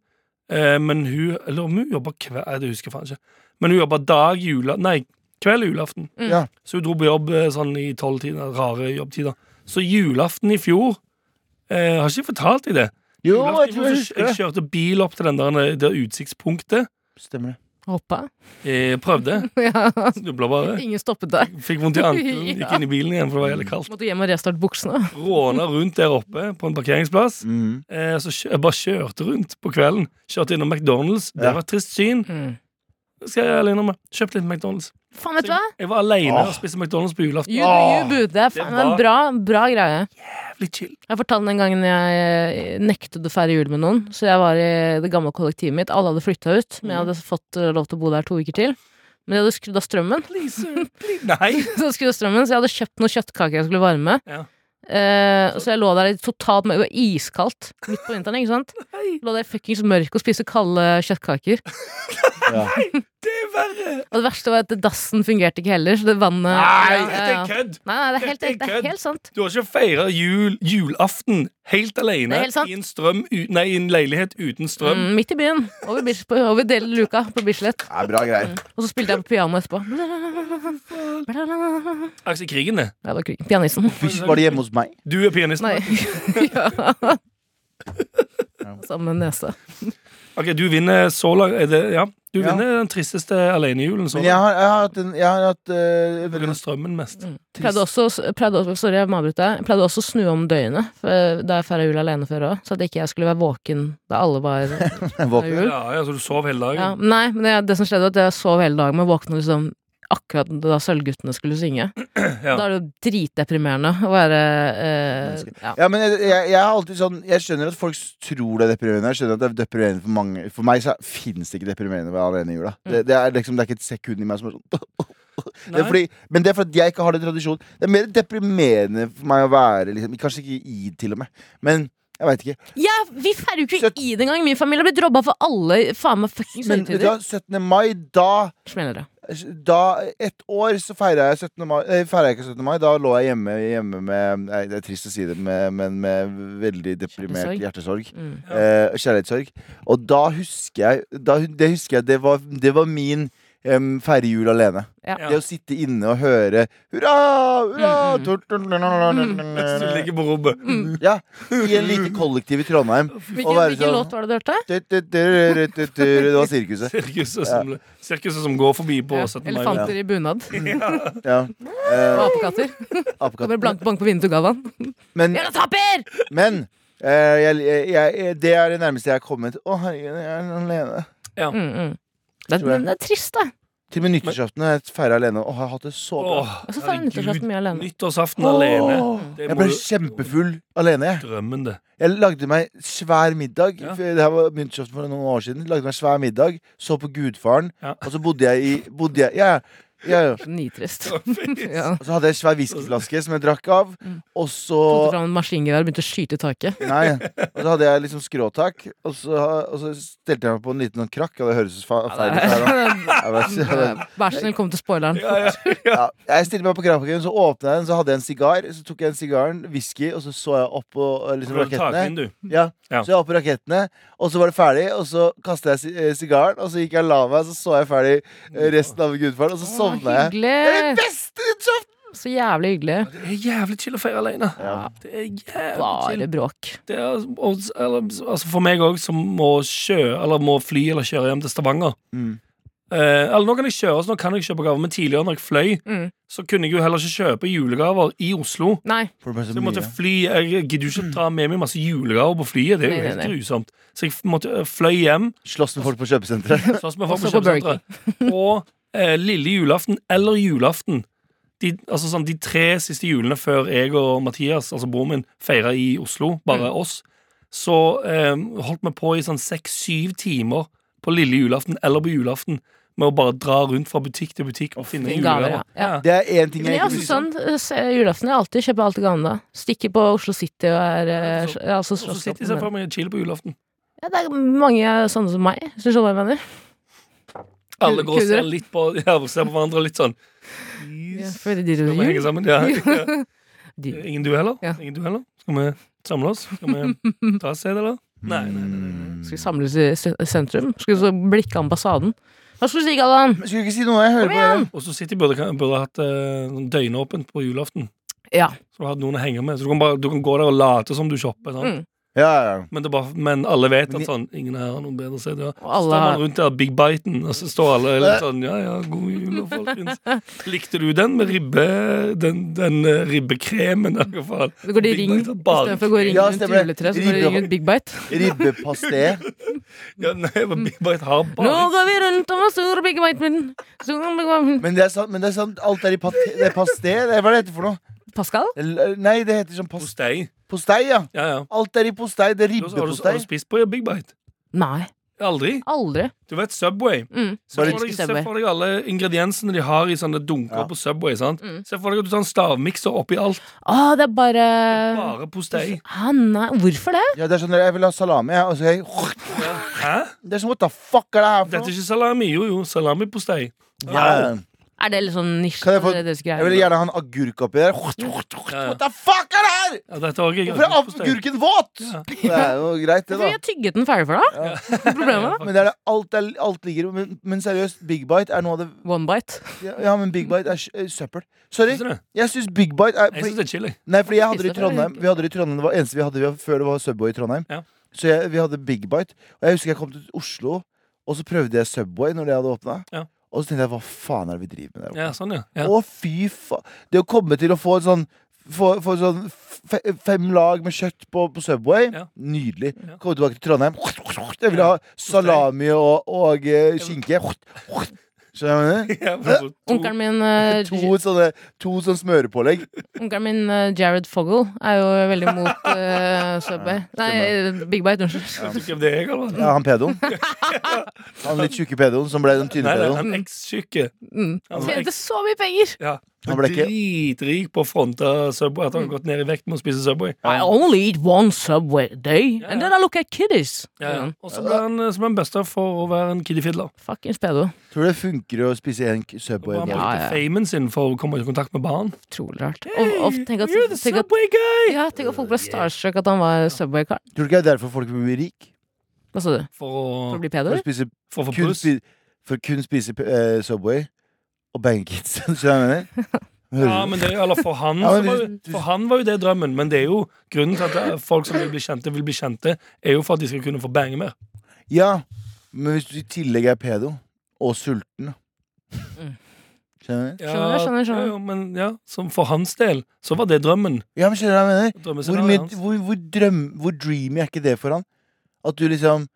Speaker 4: Eh, men hun Eller om hun jobba kveld Nei, det husker jeg faen ikke. Men hun jobba dag jula... Nei, kveld julaften.
Speaker 3: Mm.
Speaker 2: Ja.
Speaker 4: Så hun dro på jobb eh, sånn i tolvtida. Rare jobbtider. Så julaften i fjor eh, Har ikke jeg fortalt deg det?
Speaker 2: Jo, jeg
Speaker 4: Julaften
Speaker 2: tror jeg
Speaker 4: i fjor så-
Speaker 2: husker det.
Speaker 4: jeg kjørte bil opp til den der, det utsiktspunktet.
Speaker 2: Stemmer det.
Speaker 3: Hoppa.
Speaker 4: Eh, prøvde.
Speaker 3: Ja.
Speaker 4: Snubla bare.
Speaker 3: Ingen stoppet deg.
Speaker 4: Fikk vondt i ankelen. Gikk
Speaker 3: Ja.
Speaker 4: inn i bilen igjen, for det var jævlig kaldt.
Speaker 3: Måtte hjem og restarte buksene.
Speaker 4: Råna rundt der oppe på en parkeringsplass.
Speaker 2: Mhm.
Speaker 4: Eh, så kjø jeg bare kjørte rundt på kvelden. Kjørte innom McDonald's. Det
Speaker 2: Ja.
Speaker 4: var et trist syn.
Speaker 3: Mm.
Speaker 4: Skal jeg alene med. Kjøpte litt McDonald's.
Speaker 3: Faen, vet du hva?
Speaker 4: Jeg var alene
Speaker 2: Åh.
Speaker 4: og spiste McDonald's på julaften.
Speaker 3: You do you, boo. Det er faen
Speaker 4: Det var-
Speaker 3: en bra, bra greie.
Speaker 4: Jævlig chill.
Speaker 3: Jeg fortalte den gangen jeg eh, nektet å feire jul med noen. Så jeg var i det gamle kollektivet mitt. Alle hadde flytta ut, men jeg hadde
Speaker 4: Mm.
Speaker 3: fått eh, lov til å bo der to uker til. Men jeg hadde skrudd av strømmen,
Speaker 4: Please, please. Nei.
Speaker 3: så, jeg skrudd av strømmen, så jeg hadde kjøpt noen kjøttkaker jeg skulle varme.
Speaker 4: Ja.
Speaker 3: Eh, så jeg lå der i totalt mørke, det var iskaldt, midt på vinteren. ikke sant? Lå der i fuckings mørket og spiste kalde kjøttkaker.
Speaker 2: Ja.
Speaker 4: Det er verre!
Speaker 3: Og det verste var at dassen fungerte ikke heller, så det vannet
Speaker 4: Nei,
Speaker 3: Ja,
Speaker 4: dette
Speaker 3: ja, ja.
Speaker 4: er kødd!
Speaker 3: Nei, nei, det er helt,
Speaker 4: Dette er
Speaker 3: det er
Speaker 4: kødd.
Speaker 3: helt sant.
Speaker 4: Du har ikke feira jul, julaften helt
Speaker 3: Det
Speaker 4: alene
Speaker 3: er helt sant.
Speaker 4: i en, strøm, u, nei, i en leilighet uten strøm.
Speaker 3: Mm, midt i byen. Over, Bis- på- over del luka på Bislett.
Speaker 2: Det er bra greier.
Speaker 3: Og så spilte jeg på piano etterpå.
Speaker 4: Aksel Altså, Krigen, det.
Speaker 3: Ja, det var krig. Pianisten.
Speaker 2: Hvis var det hjemme hos meg?
Speaker 4: Du er pianist.
Speaker 3: Nei. ja. Samme nese.
Speaker 4: Ok, du vinner så langt. Er det, ja. Du
Speaker 2: Ja.
Speaker 4: vinner den tristeste alenejulen så
Speaker 2: Men jeg
Speaker 4: langt.
Speaker 2: har, jeg har hatt en Jeg har hatt eh, en
Speaker 4: På grunn
Speaker 2: veldig
Speaker 4: av strømmen mest.
Speaker 3: Pleide også, pleide også, sorry, jeg må avbryte deg. Pleide også å snu om døgnet for- da jeg feira jul alene før òg, så at ikke jeg skulle være våken da alle var
Speaker 2: våken.
Speaker 3: jul.
Speaker 4: Ja, ja, så du sov hele
Speaker 3: Ja,
Speaker 4: dagen.
Speaker 3: nei, men det, det som skjedde, var at jeg sov hele dagen, men våkna liksom akkurat da Sølvguttene skulle synge.
Speaker 4: Ja.
Speaker 3: Da er det jo dritdeprimerende å være eh, ja.
Speaker 2: Ja, men jeg, jeg, jeg har alltid sånn Jeg skjønner at folk tror det er deprimerende. Jeg skjønner at det er deprimerende For mange For meg så finnes det ikke deprimerende å være alene i jula. Det, det, er liksom, det er ikke et sekund i meg som er sånn det er
Speaker 4: Nei.
Speaker 2: fordi, Men det er fordi jeg ikke har den tradisjonen. Det er mer deprimerende for meg å være liksom, Kanskje ikke i, til og med. Men jeg veit ikke.
Speaker 3: Ja, vi feirer jo ikke
Speaker 2: Søtt-
Speaker 3: id engang! Min familie har blitt robba for alle faen meg fuckings
Speaker 2: Men vet du hva,
Speaker 3: høytider.
Speaker 2: 17. mai, da
Speaker 3: Smeller det.
Speaker 2: da, et år så feira jeg 17. mai Nei, feira jeg ikke 17. mai. Da lå jeg hjemme, hjemme med nei, Det er trist å si det, med, men med veldig deprimert hjertesorg.
Speaker 3: Mm.
Speaker 2: Eh, kjærlighetssorg. Og da husker jeg da, Det husker jeg, det var, det var min um, feire jul alene.
Speaker 3: Ja.
Speaker 2: Det å sitte inne og høre hurra, hurra
Speaker 3: Mm, mm.
Speaker 2: tur, tur, tur, tur, tur,
Speaker 4: Mens du
Speaker 2: tur.
Speaker 4: ligger på rommet.
Speaker 2: Ja, i en liten kollektiv i Trondheim.
Speaker 3: Hvilken,
Speaker 2: Og være
Speaker 3: hvilken
Speaker 2: sånn-
Speaker 3: låt var det du hørte?
Speaker 2: Tu, tu, tu, ru, tu, tu. Det var sirkuset.
Speaker 4: Sirkuset som, sirkuset som går forbi på
Speaker 3: Ja,
Speaker 4: 17. mai.
Speaker 3: Elefanter i bunad
Speaker 2: Ja.
Speaker 3: og
Speaker 2: Eh,
Speaker 3: apekatter. Ah, Kommer
Speaker 2: apekatt.
Speaker 3: blank bank på vinduet til Gavan.
Speaker 2: Men,
Speaker 3: Bjørnar taper!
Speaker 2: men eh, jeg, jeg, jeg, det er det nærmeste jeg har kommet. Å, herregud, jeg er alene.
Speaker 3: Mm, mm. Det,
Speaker 2: Tror jeg.
Speaker 3: det er trist, da.
Speaker 2: Til og med nyttårsaften har jeg feira alene. Å, jeg har hatt det så bra.
Speaker 4: Åh,
Speaker 3: Og så feirer
Speaker 4: herregud.
Speaker 3: nyttårsaften mye alene.
Speaker 4: Nyttårsaften alene.
Speaker 2: Åh,
Speaker 4: Det
Speaker 2: jeg
Speaker 4: må
Speaker 2: ble
Speaker 4: jo-
Speaker 2: kjempefull alene, jeg.
Speaker 4: Drømmen, det.
Speaker 2: Jeg lagde meg svær middag.
Speaker 4: Ja.
Speaker 2: for Det her var myntskjøft for noen år siden. Lagde meg svær middag, så på Gudfaren,
Speaker 4: Ja.
Speaker 2: og så bodde jeg i bodde jeg, ja, ja, ja, ja.
Speaker 3: Nitrist.
Speaker 4: Ja.
Speaker 3: Ja.
Speaker 2: Og så hadde jeg en svær whiskyflaske som jeg drakk av,
Speaker 3: Mm.
Speaker 2: og så
Speaker 3: Tok fram en maskingevær og begynte å skyte i taket.
Speaker 2: Nei. Og så hadde jeg liksom skråtak, og så, og så stelte jeg meg på en liten sånn krakk. Og det høres fa- feil ut her, da. Jeg vet ikke, jeg vet-
Speaker 3: Eh, Vær så snill, kom til spoileren.
Speaker 4: Ja, ja.
Speaker 2: Ja, jeg stilte meg på krakken, så åpna jeg den, så hadde jeg en sigar. Så tok jeg en sigaren, whisky, og så så jeg opp på eh,
Speaker 4: Du
Speaker 2: liksom,
Speaker 4: prøver å ta
Speaker 2: rakettene.
Speaker 4: den inn, du.
Speaker 2: Ja.
Speaker 4: Ja.
Speaker 2: Så jeg var på rakettene, og så var det ferdig. Og så kasta jeg si- eh, sigaren, og så gikk jeg og la meg, så så jeg ferdig eh, resten av Gudfaren, og så sovna jeg. Det er det
Speaker 3: Mm. Hyggelig!
Speaker 2: beste nyttårsaften!
Speaker 3: Så jævlig hyggelig.
Speaker 4: Det er jævlig chill å feire alene. Det er jævlig chill.
Speaker 3: Bare bråk.
Speaker 4: Det er, og, eller, altså for meg òg, som må, kjø, eller må fly eller kjøre hjem til Stavanger.
Speaker 2: Mm.
Speaker 4: Eh, eller nå kan jeg kjøre, så nå kan jeg kjøpe gaver, men tidligere når jeg fløy,
Speaker 3: Mm.
Speaker 4: så kunne jeg jo heller ikke kjøpe julegaver i Oslo.
Speaker 3: Nei.
Speaker 2: For det ble
Speaker 4: Så
Speaker 2: så
Speaker 4: jeg måtte
Speaker 2: mye.
Speaker 4: fly Jeg gidder jo ikke ta med meg masse julegaver på flyet. Det er jo
Speaker 3: Nei, nei, nei.
Speaker 4: helt grusomt. Så jeg måtte jeg fløy hjem,
Speaker 2: Slåss med folk på kjøpesenteret.
Speaker 4: sånn som jeg får
Speaker 3: Også
Speaker 4: på
Speaker 3: på Burger
Speaker 4: kjøpesenteret, på eh, lille julaften eller julaften. De, altså sånn, de tre siste julene før jeg og Mathias, altså broren min, feira i Oslo,
Speaker 3: Mm.
Speaker 4: bare oss, så eh, holdt vi på i sånn seks-syv timer på lille julaften eller på julaften med å bare dra rundt fra butikk til butikk og finne
Speaker 3: finne gaver,
Speaker 4: julegaver.
Speaker 3: ja.
Speaker 2: Det er én ting
Speaker 3: Men
Speaker 2: jeg
Speaker 3: jeg er
Speaker 2: ikke
Speaker 3: altså
Speaker 2: vil
Speaker 3: sånn, eh, se- julaften er alltid kjøper alltid gavene da. Stikker på Oslo City og er eh,
Speaker 4: Ja, så-
Speaker 3: ja, altså,
Speaker 4: Og så
Speaker 3: slåss opp
Speaker 4: sitter de seg
Speaker 3: med-
Speaker 4: frem og chiller på julaften.
Speaker 3: ja, Det er mange sånne som meg, hvis du skjønner hva jeg mener.
Speaker 4: Alle går og
Speaker 3: Kudere.
Speaker 4: ser litt på, ja, og ser på hverandre og litt sånn
Speaker 3: Ja,
Speaker 4: yes.
Speaker 3: for de
Speaker 4: Skal vi henge sammen? Ja. ja.
Speaker 3: de-
Speaker 4: Ingen du heller?
Speaker 3: Ja.
Speaker 4: Ingen du heller? Skal vi samle oss? Skal vi ta et sted, eller? Nei, nei, nei, nei.
Speaker 3: Skal vi samles i sen- sentrum? Skal vi så blikke ambassaden? Hva skulle du si, Galvan?
Speaker 2: Men Skulle ikke si noe, jeg hører
Speaker 3: Kom
Speaker 2: på dere.
Speaker 4: Og så City burde, burde hatt eh, sånn døgnåpent på julaften.
Speaker 3: Ja.
Speaker 4: Så du har noen å henge med. Så du kan, bare, du kan gå der og late som du shopper. Sant?
Speaker 3: Mm.
Speaker 2: Ja, ja.
Speaker 4: Men, det er bare, men alle vet
Speaker 2: Men
Speaker 4: at
Speaker 2: de-
Speaker 4: sånn Ingen her har noen bedre sted. Ja.
Speaker 3: Og
Speaker 4: Så
Speaker 3: alle
Speaker 4: står man
Speaker 3: har
Speaker 4: rundt der Big Biten, og så står alle litt sånn Ja, ja, god jul, og folkens. Likte du den med ribbe Den, den eh, ribbekremen, eller hva faen?
Speaker 3: Det går de i
Speaker 4: Big
Speaker 3: ring
Speaker 4: Bite er bare-
Speaker 3: istedenfor å gå i ring
Speaker 2: Ja,
Speaker 3: rundt
Speaker 2: stemmer det.
Speaker 3: juletreet, så går de i ring rundt Big Bite.
Speaker 2: Ribbepasté.
Speaker 4: Ja, nei, men Big Bite har
Speaker 3: Nå
Speaker 4: bare
Speaker 3: går vi rundt om og suger Big Bite min. Suger Big Bite min.
Speaker 2: Men det er sant, men det er sant alt er i pat det er pasté. Det er, hva er det heter for noe?
Speaker 3: Pascal?
Speaker 2: L- Nei, det heter sånn pas-
Speaker 4: postei.
Speaker 2: postei, ja.
Speaker 4: Ja, ja.
Speaker 2: Alt er i postei. Det er
Speaker 4: Du har, har, du, har
Speaker 2: ribbepostei.
Speaker 4: du spist på Big Bite?
Speaker 3: Nei.
Speaker 4: Aldri.
Speaker 3: Aldri.
Speaker 4: Du vet Subway.
Speaker 3: Mm.
Speaker 4: Se
Speaker 2: Bare-
Speaker 4: for, deg, se
Speaker 3: Subway.
Speaker 4: for deg alle ingrediensene de har i sånne dunker
Speaker 2: Ja.
Speaker 4: på Subway. sant?
Speaker 3: Mm.
Speaker 4: Se for deg at du tar en stavmikser oppi alt.
Speaker 3: Å, Ah, det er bare
Speaker 4: Bare postei.
Speaker 3: Hæ, nei, hvorfor det?
Speaker 2: Ja, det er sånn, jeg vil ha salami, jeg. Og så jeg
Speaker 4: Hæ?
Speaker 2: Det er sånn, what the fuck er det her
Speaker 4: Dette
Speaker 2: for
Speaker 4: er
Speaker 2: noe?
Speaker 4: ikke salami. Jo, jo. Salamipostei.
Speaker 2: Ja.
Speaker 3: Er det litt sånn nisje?
Speaker 2: Kan jeg få-
Speaker 3: det er deres
Speaker 2: Jeg ville
Speaker 3: greie?
Speaker 2: gjerne ha en agurk oppi der.
Speaker 4: ja.
Speaker 2: What the fuck er det her?!
Speaker 4: Ja, dette er også
Speaker 2: Hvorfor er agurken våt?!
Speaker 4: Ja.
Speaker 2: Det er jo greit, det,
Speaker 3: Hvorfor har
Speaker 2: da.
Speaker 3: jeg tygget den ferdig for deg?
Speaker 2: Ja.
Speaker 3: Hva er Problemet?
Speaker 2: Men det er det, alt, er, alt ligger men, men seriøst, Big Bite er noe av det
Speaker 3: One bite.
Speaker 2: Ja, men Big Bite er sj- eh, søppel. Sorry.
Speaker 4: Synes du det?
Speaker 2: Jeg syns Big Bite er
Speaker 4: Jeg syns det er chili.
Speaker 2: Nei, fordi jeg hadde det i
Speaker 3: Pizza fra
Speaker 2: Trondheim.
Speaker 3: Hauge.
Speaker 2: Vi hadde det i Trondheim Det var eneste vi hadde vi- før det var Subway i Trondheim.
Speaker 4: Ja.
Speaker 2: Så jeg, vi hadde Big Bite. Og jeg husker jeg kom til Oslo, og så prøvde jeg Subway når det hadde åpna.
Speaker 4: Ja.
Speaker 2: Og så tenkte jeg hva faen er det vi driver med der oppe?
Speaker 4: Ja, sånn, ja. ja.
Speaker 2: Å, fy faen. Det å komme til å få et sånn få, få sånn fe, fem lag med kjøtt på, på Subway.
Speaker 4: Ja.
Speaker 2: Nydelig.
Speaker 4: Ja.
Speaker 2: Komme tilbake til Trondheim. Jeg vil ha salami og, og eh, skinke. Skjønner du?
Speaker 4: Ja, for- for-
Speaker 3: Onkelen min, eh,
Speaker 2: To sånne, to sånne smørepålegg.
Speaker 3: onkelen min eh, Jared Foggle er jo veldig mot eh, Subway. Nei, eh, Big Bite, unnskyld.
Speaker 4: Vet du hvem det er, Galvan?
Speaker 2: Ja, han pedoen. Han litt tjukke pedoen som ble den tynne
Speaker 4: Nei, nei,
Speaker 2: pedoen.
Speaker 4: han er ekstjukke.
Speaker 3: Mm.
Speaker 4: Han var
Speaker 3: Tjente så mye penger!
Speaker 4: Ja,
Speaker 2: Han ble ikke
Speaker 4: Dritrik på å fronte Subway. At han
Speaker 3: Mm.
Speaker 4: har gått ned i vekt med å spise Subway.
Speaker 3: I only eat one Subway a day, and then I look at kiddies. Sånn,
Speaker 4: Ja, ja.
Speaker 3: Ja.
Speaker 4: Og så ble han, eh, så ble han busta for å være en kiddie-fiddler.
Speaker 3: Fuckings pedo.
Speaker 2: Tror du det funker å spise en k-
Speaker 4: Og
Speaker 2: Subway
Speaker 4: han
Speaker 2: om
Speaker 4: brukte
Speaker 2: dagen?
Speaker 3: ja.
Speaker 4: famen sin for å komme i kontakt med barn.
Speaker 3: Utrolig rart. Og,
Speaker 4: Hey,
Speaker 3: og tenk at,
Speaker 4: you're the
Speaker 3: tenk at
Speaker 4: Subway guy!
Speaker 3: ja, tenk at folk ble starstruck at han var Subway-kar.
Speaker 2: Tror du ikke det er derfor folk blir rik?
Speaker 3: Hva sa du? For å
Speaker 4: For å,
Speaker 3: bli
Speaker 2: For
Speaker 3: pedo?
Speaker 2: å spise,
Speaker 4: for å få
Speaker 2: kun,
Speaker 4: puss.
Speaker 2: spi, for å kun spise eh, Subway og bange kids. Skjønner du hva jeg mener? Hører
Speaker 4: Ja,
Speaker 2: du?
Speaker 4: men det, eller for, han,
Speaker 2: Ja, men
Speaker 4: så var,
Speaker 2: hvis-
Speaker 4: jo- for han var jo det drømmen, men det er jo grunnen til at det er folk som vil bli kjente, vil bli kjente, er jo for at de skal kunne få bange mer.
Speaker 2: ja, men hvis du i tillegg er pedo og sulten da.
Speaker 3: Mm.
Speaker 2: Skjønner du? hva jeg mener?
Speaker 4: Ja,
Speaker 3: Skjønner, skjønner, skjønner.
Speaker 4: ja, jo, men ja, som for hans del, så var det drømmen.
Speaker 2: Ja, men skjønner du hva jeg mener? Hvor,
Speaker 4: Drømmescenarioet
Speaker 2: mye,
Speaker 4: hans.
Speaker 2: hvor, hvor, drøm, hvor dreamy er ikke det for han? At du liksom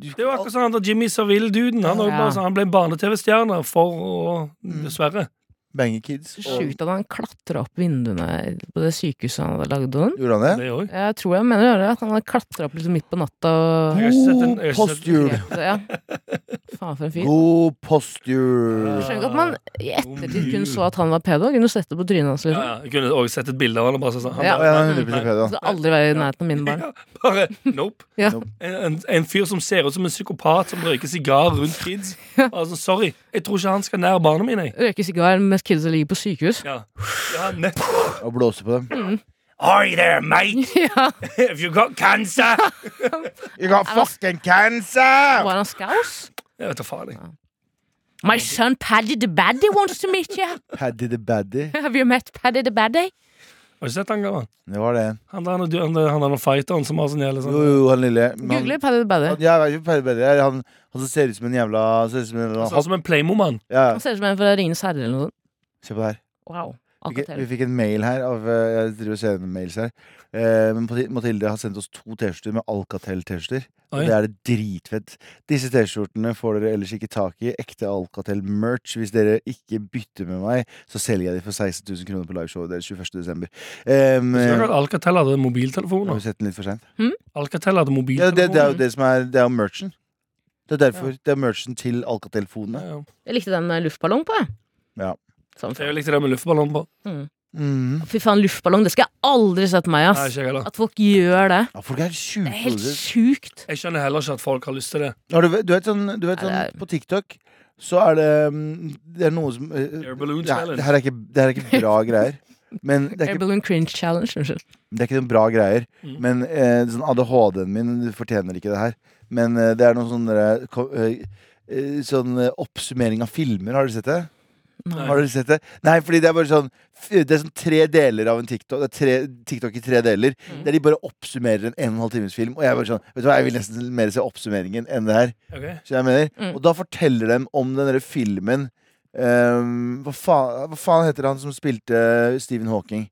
Speaker 2: du,
Speaker 4: Det er jo akkurat sånn at Jimmy Savile-duden. Han, er jo
Speaker 3: Ja.
Speaker 4: bare sånn, han ble barne-TV-stjerne for å Dessverre.
Speaker 2: Bange kids.
Speaker 3: Så
Speaker 2: Og,
Speaker 3: sjukt at han klatra opp vinduene på det sykehuset han hadde lagd. Don.
Speaker 2: gjorde han det?
Speaker 4: Det òg.
Speaker 3: Jeg tror jeg mener å gjøre det, at han hadde klatra opp liksom midt på natta og
Speaker 4: Jeg har ikke sett den-
Speaker 2: God
Speaker 4: jeg har ikke sett den.
Speaker 2: postur!
Speaker 3: ja. Faen, for en fyr.
Speaker 2: God postur!
Speaker 3: Skjønner ikke at man i ettertid kun så at han var pedo. Kunne sett det på trynet hans.
Speaker 4: Ja,
Speaker 3: Liksom.
Speaker 4: ja, jeg kunne òg sett et bilde av han og bare sånn. Han
Speaker 3: Ja.
Speaker 2: Ja, ja, 100% pedo.
Speaker 3: Skal aldri være i nærheten av mine barn.
Speaker 4: Ja, bare nope.
Speaker 3: Ja.
Speaker 2: Nope.
Speaker 4: En, en, en fyr som ser ut som en psykopat som røyker sigar rundt kids. Altså, sorry, jeg tror ikke han skal nær barna mine. jeg.
Speaker 3: Røyke sigar mens kidsa ligger på sykehus.
Speaker 4: Ja. Ja, nettopp.
Speaker 2: Og blåse på dem.
Speaker 4: Are you there, mate?
Speaker 3: Ja.
Speaker 4: If you got cancer
Speaker 2: You got fucking cancer!
Speaker 3: Var han skaus?
Speaker 4: Jeg vet da faen. jeg.
Speaker 3: My son Paddy the Baddy wants to meet you.
Speaker 2: Paddy the Baddy.
Speaker 3: Have you met Paddy the Baddy?
Speaker 4: Har du sett han gamle?
Speaker 2: Det var det.
Speaker 4: Han der, han, der- han, der- han der fighteren som har sånn jævla
Speaker 2: Jo,
Speaker 4: sånn
Speaker 2: jo, han lille. men han-
Speaker 3: Google Paddy the Baddy.
Speaker 2: Han, ja, jeg vet ikke, Paddy the Baddy er han, han som ser ut som en jævla han Ser ut som en jævla
Speaker 4: Sånn som en playmoman.
Speaker 2: ja,
Speaker 3: Han ser ut som en fra Ringenes herre eller noe sånt.
Speaker 2: Se på det her.
Speaker 3: Wow.
Speaker 2: Vi fikk, vi
Speaker 3: Alcatel.
Speaker 2: fikk en mail her. Av, eh, jeg driver og ser gjennom mails her. Eh, men Mathi- Mathilde har sendt oss to T-skjorter med Alcatel-T-skjorter. Og
Speaker 4: Oi.
Speaker 2: Det er det dritfett. Disse T-skjortene får dere ellers ikke tak i. Ekte Alcatel-merch. Hvis dere ikke bytter med meg, så selger jeg de for 16 000 kroner på liveshowet deres 21.12. Um,
Speaker 4: Husker dere
Speaker 2: har
Speaker 4: at Alcatel hadde
Speaker 2: vi
Speaker 4: mobiltelefoner?
Speaker 2: eh, sett den litt for seint?
Speaker 4: Alcatel hadde
Speaker 2: Ja, det, det er jo
Speaker 4: mobiltelefoner.
Speaker 2: det som er Det er jo merchen. Det er derfor det er merchen til Alcatel-fonene.
Speaker 4: Ja, ja.
Speaker 3: Jeg likte den eh, luftballong på, jeg.
Speaker 2: Ja.
Speaker 3: Sånn.
Speaker 4: Det er jo likt det der med luftballong på.
Speaker 2: Mhm.
Speaker 3: Fy faen, luftballong. Det skal jeg aldri sett meg,
Speaker 4: Nei,
Speaker 3: ass.
Speaker 4: ikke jeg heller.
Speaker 3: At folk gjør det.
Speaker 2: Ja, folk er sjuke.
Speaker 3: Det er helt
Speaker 2: hoder.
Speaker 3: sjukt.
Speaker 4: Jeg skjønner heller ikke at folk har lyst til det.
Speaker 2: Har du, du vet sånn, du vet,
Speaker 3: Nei,
Speaker 2: sånn
Speaker 3: det
Speaker 2: På TikTok så er det mm, Det er noe som eh,
Speaker 4: Air balloon
Speaker 2: det, her-
Speaker 4: challenge.
Speaker 2: det, her er ikke, det her er ikke bra greier. Men det er,
Speaker 3: Air
Speaker 2: ikke,
Speaker 3: Balloon Cringe Challenge. Unnskyld.
Speaker 2: det er ikke noen bra greier.
Speaker 4: Mm.
Speaker 2: Men eh, sånn ADHD-en min du fortjener ikke det her. Men eh, det er noen sånne eh, ko- eh, eh, Sånn eh, oppsummering av filmer. Har dere sett det?
Speaker 4: Nei.
Speaker 2: Har dere sett det? Nei, fordi det er bare sånn f- Det er sånn tre deler av en TikTok. Det er tre, TikTok i tre deler.
Speaker 3: Mm.
Speaker 2: Der de bare oppsummerer en en og en halv times film. Og jeg er bare sånn Vet du hva, jeg vil nesten mer se oppsummeringen enn det her.
Speaker 4: Ok.
Speaker 2: Så jeg mener
Speaker 3: Mm.
Speaker 2: Og da forteller de om den derre filmen ehm, hva, faen, hva faen heter han som spilte eh, Stephen Hawking?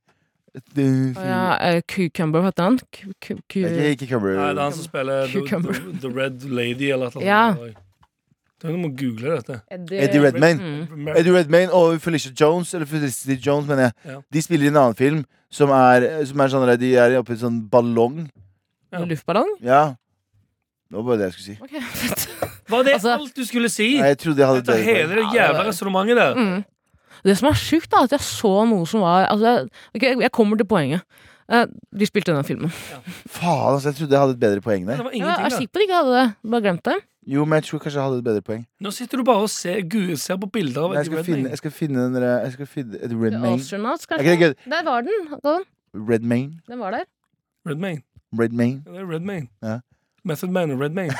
Speaker 2: Det-
Speaker 3: Å Ja, eh, Cucumber, hva heter han? Ku- ku- ku-
Speaker 2: Det er Ikke, ikke Cumber.
Speaker 4: Nei, det er han som spiller The,
Speaker 3: Cucumber.
Speaker 4: The, the Red Lady eller noe
Speaker 3: Ja.
Speaker 4: sånt. Du må google dette.
Speaker 2: Eddie Redmayne.
Speaker 3: Mm.
Speaker 2: Eddie Redmayne og Felicia Jones, eller Felicity Jones, mener jeg.
Speaker 4: Ja.
Speaker 2: De spiller i en annen film som er, som er sånn der de er oppi en sånn ballong.
Speaker 4: Ja.
Speaker 3: Luftballong?
Speaker 2: Ja. Det var bare det jeg skulle si.
Speaker 3: Ok, fett.
Speaker 4: Var det
Speaker 3: Altså-
Speaker 4: alt du skulle si?
Speaker 2: Nei, jeg trodde jeg hadde
Speaker 4: Dette
Speaker 2: dere på.
Speaker 4: hele det jævla resonnementet der.
Speaker 3: Mm. Det som er sjukt, da, er at jeg så noe som var altså, jeg- ok, jeg- Jeg kommer til poenget. Eh, de spilte denne filmen.
Speaker 2: Faen, altså, jeg trodde jeg hadde et bedre poeng der.
Speaker 4: Det var
Speaker 3: Ja, jeg er
Speaker 4: ingenting der.
Speaker 3: sikker på at de ikke hadde det. Bare glemt det.
Speaker 2: Jo, men jeg tror kanskje jeg hadde et bedre poeng.
Speaker 4: Nå sitter du bare og ser, gu- ser på bilder av
Speaker 2: Nei, jeg,
Speaker 4: Eddie
Speaker 2: skal finne,
Speaker 4: Redmayne.
Speaker 2: jeg skal finne den der Jeg skal finne Eddie
Speaker 3: The
Speaker 2: Redmayne.
Speaker 3: Astronauts,
Speaker 2: Er ikke
Speaker 3: kanskje.
Speaker 2: det gøy?
Speaker 3: Der var den. Gå.
Speaker 2: Redmayne.
Speaker 3: Den var der.
Speaker 4: Redmayne.
Speaker 2: Redmayne.
Speaker 4: Ja, Det er Redmayne.
Speaker 2: Ja.
Speaker 4: Method Man og Redmayne.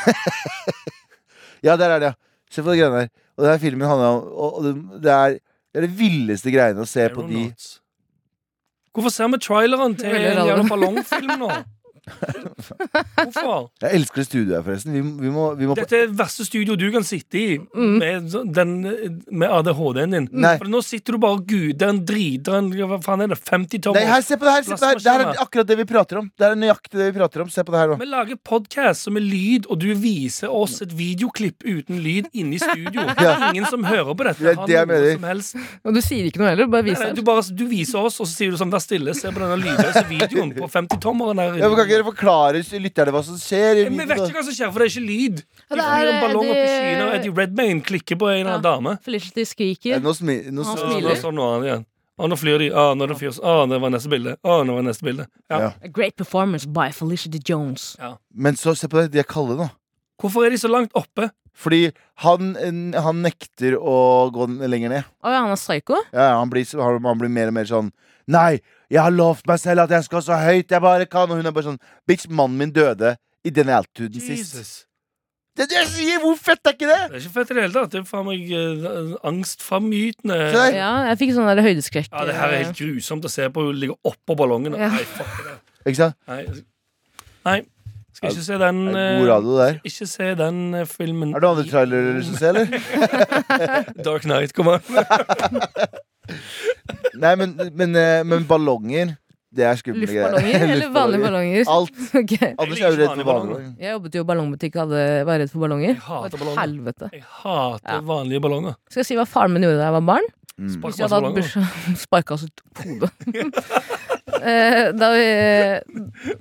Speaker 2: Ja, der er det, ja. Se på de greiene der. Og denne filmen handler om og, og det, det, er, det er det villeste greiene å se på de
Speaker 4: Aeronauts. Hvorfor ser vi traileren til
Speaker 3: Veldig
Speaker 4: en
Speaker 3: rar.
Speaker 4: jævla ballongfilm nå? Hvorfor?
Speaker 2: Jeg elsker det studioet her, forresten. Vi, må- vi må, vi må på, Mm.
Speaker 4: Dette er det verste studio du kan sitte i med, så- den, med ADHD-en din.
Speaker 2: Nei.
Speaker 4: For nå sitter du bare og guder en driter en Hva faen er det? 50 tommer?
Speaker 2: Nei, her, se på det her! Se på det her. Det her er akkurat det vi prater om. Det er nøyaktig det vi prater om. Se på det her nå.
Speaker 4: Vi lager podkast som er lyd, og du viser oss et videoklipp uten lyd inne i studio. Det er ingen som hører på dette.
Speaker 2: Det er det jeg
Speaker 4: har noe
Speaker 2: mener.
Speaker 4: som helst. Nei,
Speaker 3: Og du sier ikke noe heller, bare
Speaker 4: nei,
Speaker 3: viser
Speaker 4: Du, bare, du viser oss, og så sier du sånn, vær stille, se på denne lydløse videoen på 50-tommeren her.
Speaker 2: Ja, men kan ikke dere forklare s- lytterne hva som skjer? i
Speaker 4: Vi vet
Speaker 2: videoen,
Speaker 4: ikke hva som skjer, for det er ikke lyd.
Speaker 3: Ja,
Speaker 4: Det
Speaker 3: det
Speaker 4: flyr
Speaker 3: er
Speaker 4: en ballong opp i
Speaker 3: Eddie-
Speaker 4: skyene, og Eddie Redmayne klikker på en eller annen dame.
Speaker 3: Felicity
Speaker 2: Ja,
Speaker 3: skriker.
Speaker 2: nå smi, nå
Speaker 3: Han
Speaker 4: Så,
Speaker 2: smi-
Speaker 4: så,
Speaker 3: smiler.
Speaker 4: sånn noe annet igjen. Å, nå flyr de. Å, nå er det fyrs. Å, det var neste bilde. Å, nå var neste bilde. Ja.
Speaker 2: Ja.
Speaker 3: A great performance by Felicia de Jones.
Speaker 2: Men så, se på det, de er kalde nå.
Speaker 4: Hvorfor er de så langt oppe?
Speaker 2: Fordi han, en- han nekter å gå n- lenger ned.
Speaker 3: Å ja, han er psycho?
Speaker 2: Ja, ja, han, blir, så- han han blir mer og mer sånn Nei, jeg har lovt meg selv at jeg skal så høyt jeg bare kan. Og hun er bare sånn Bitch, mannen min døde i den altituden sist.
Speaker 4: Jesus.
Speaker 2: Det er det jeg sier! Hvor fett er ikke det?
Speaker 4: Det er ikke fett i det hele tatt. Det er faen meg eh, angstframytende.
Speaker 2: Se der.
Speaker 3: Ja, jeg fikk sånn der høydeskrekk.
Speaker 4: Ja, det her er helt grusomt å se på. Hun ligger oppå ballongen.
Speaker 3: Ja.
Speaker 4: Nei, fuck det.
Speaker 2: Ikke sant?
Speaker 4: Nei. Nei. Skal ikke se den
Speaker 2: Det er
Speaker 4: eh,
Speaker 2: god radio der.
Speaker 4: Ikke se den eh, filmen.
Speaker 2: Er det noen andre trailere du skal se, eller?
Speaker 4: Dark Knight, kom an.
Speaker 2: Nei, men, men, eh, men ballonger, det er skumle greier.
Speaker 3: eh, Luftballonger eller vanlige
Speaker 2: Luftballonger.
Speaker 3: ballonger?
Speaker 2: Alt.
Speaker 3: Ok.
Speaker 2: Anders
Speaker 4: Jeg
Speaker 2: er jo
Speaker 4: liker
Speaker 2: redd for
Speaker 4: vanlige
Speaker 2: ballonger.
Speaker 3: Jeg jobbet jo i ballongbutikk og hadde- var redd for ballonger.
Speaker 4: Jeg hater
Speaker 3: Det var et
Speaker 4: ballonger.
Speaker 3: Helvete.
Speaker 4: Jeg hater
Speaker 3: Ja.
Speaker 4: vanlige ballonger.
Speaker 3: Skal jeg si hva faren min gjorde da jeg var barn?
Speaker 2: Mm.
Speaker 4: Spark
Speaker 3: Hvis jeg hadde hatt
Speaker 4: ballonger.
Speaker 3: bursdag Sparka oss ut hodet. Eh, da vi,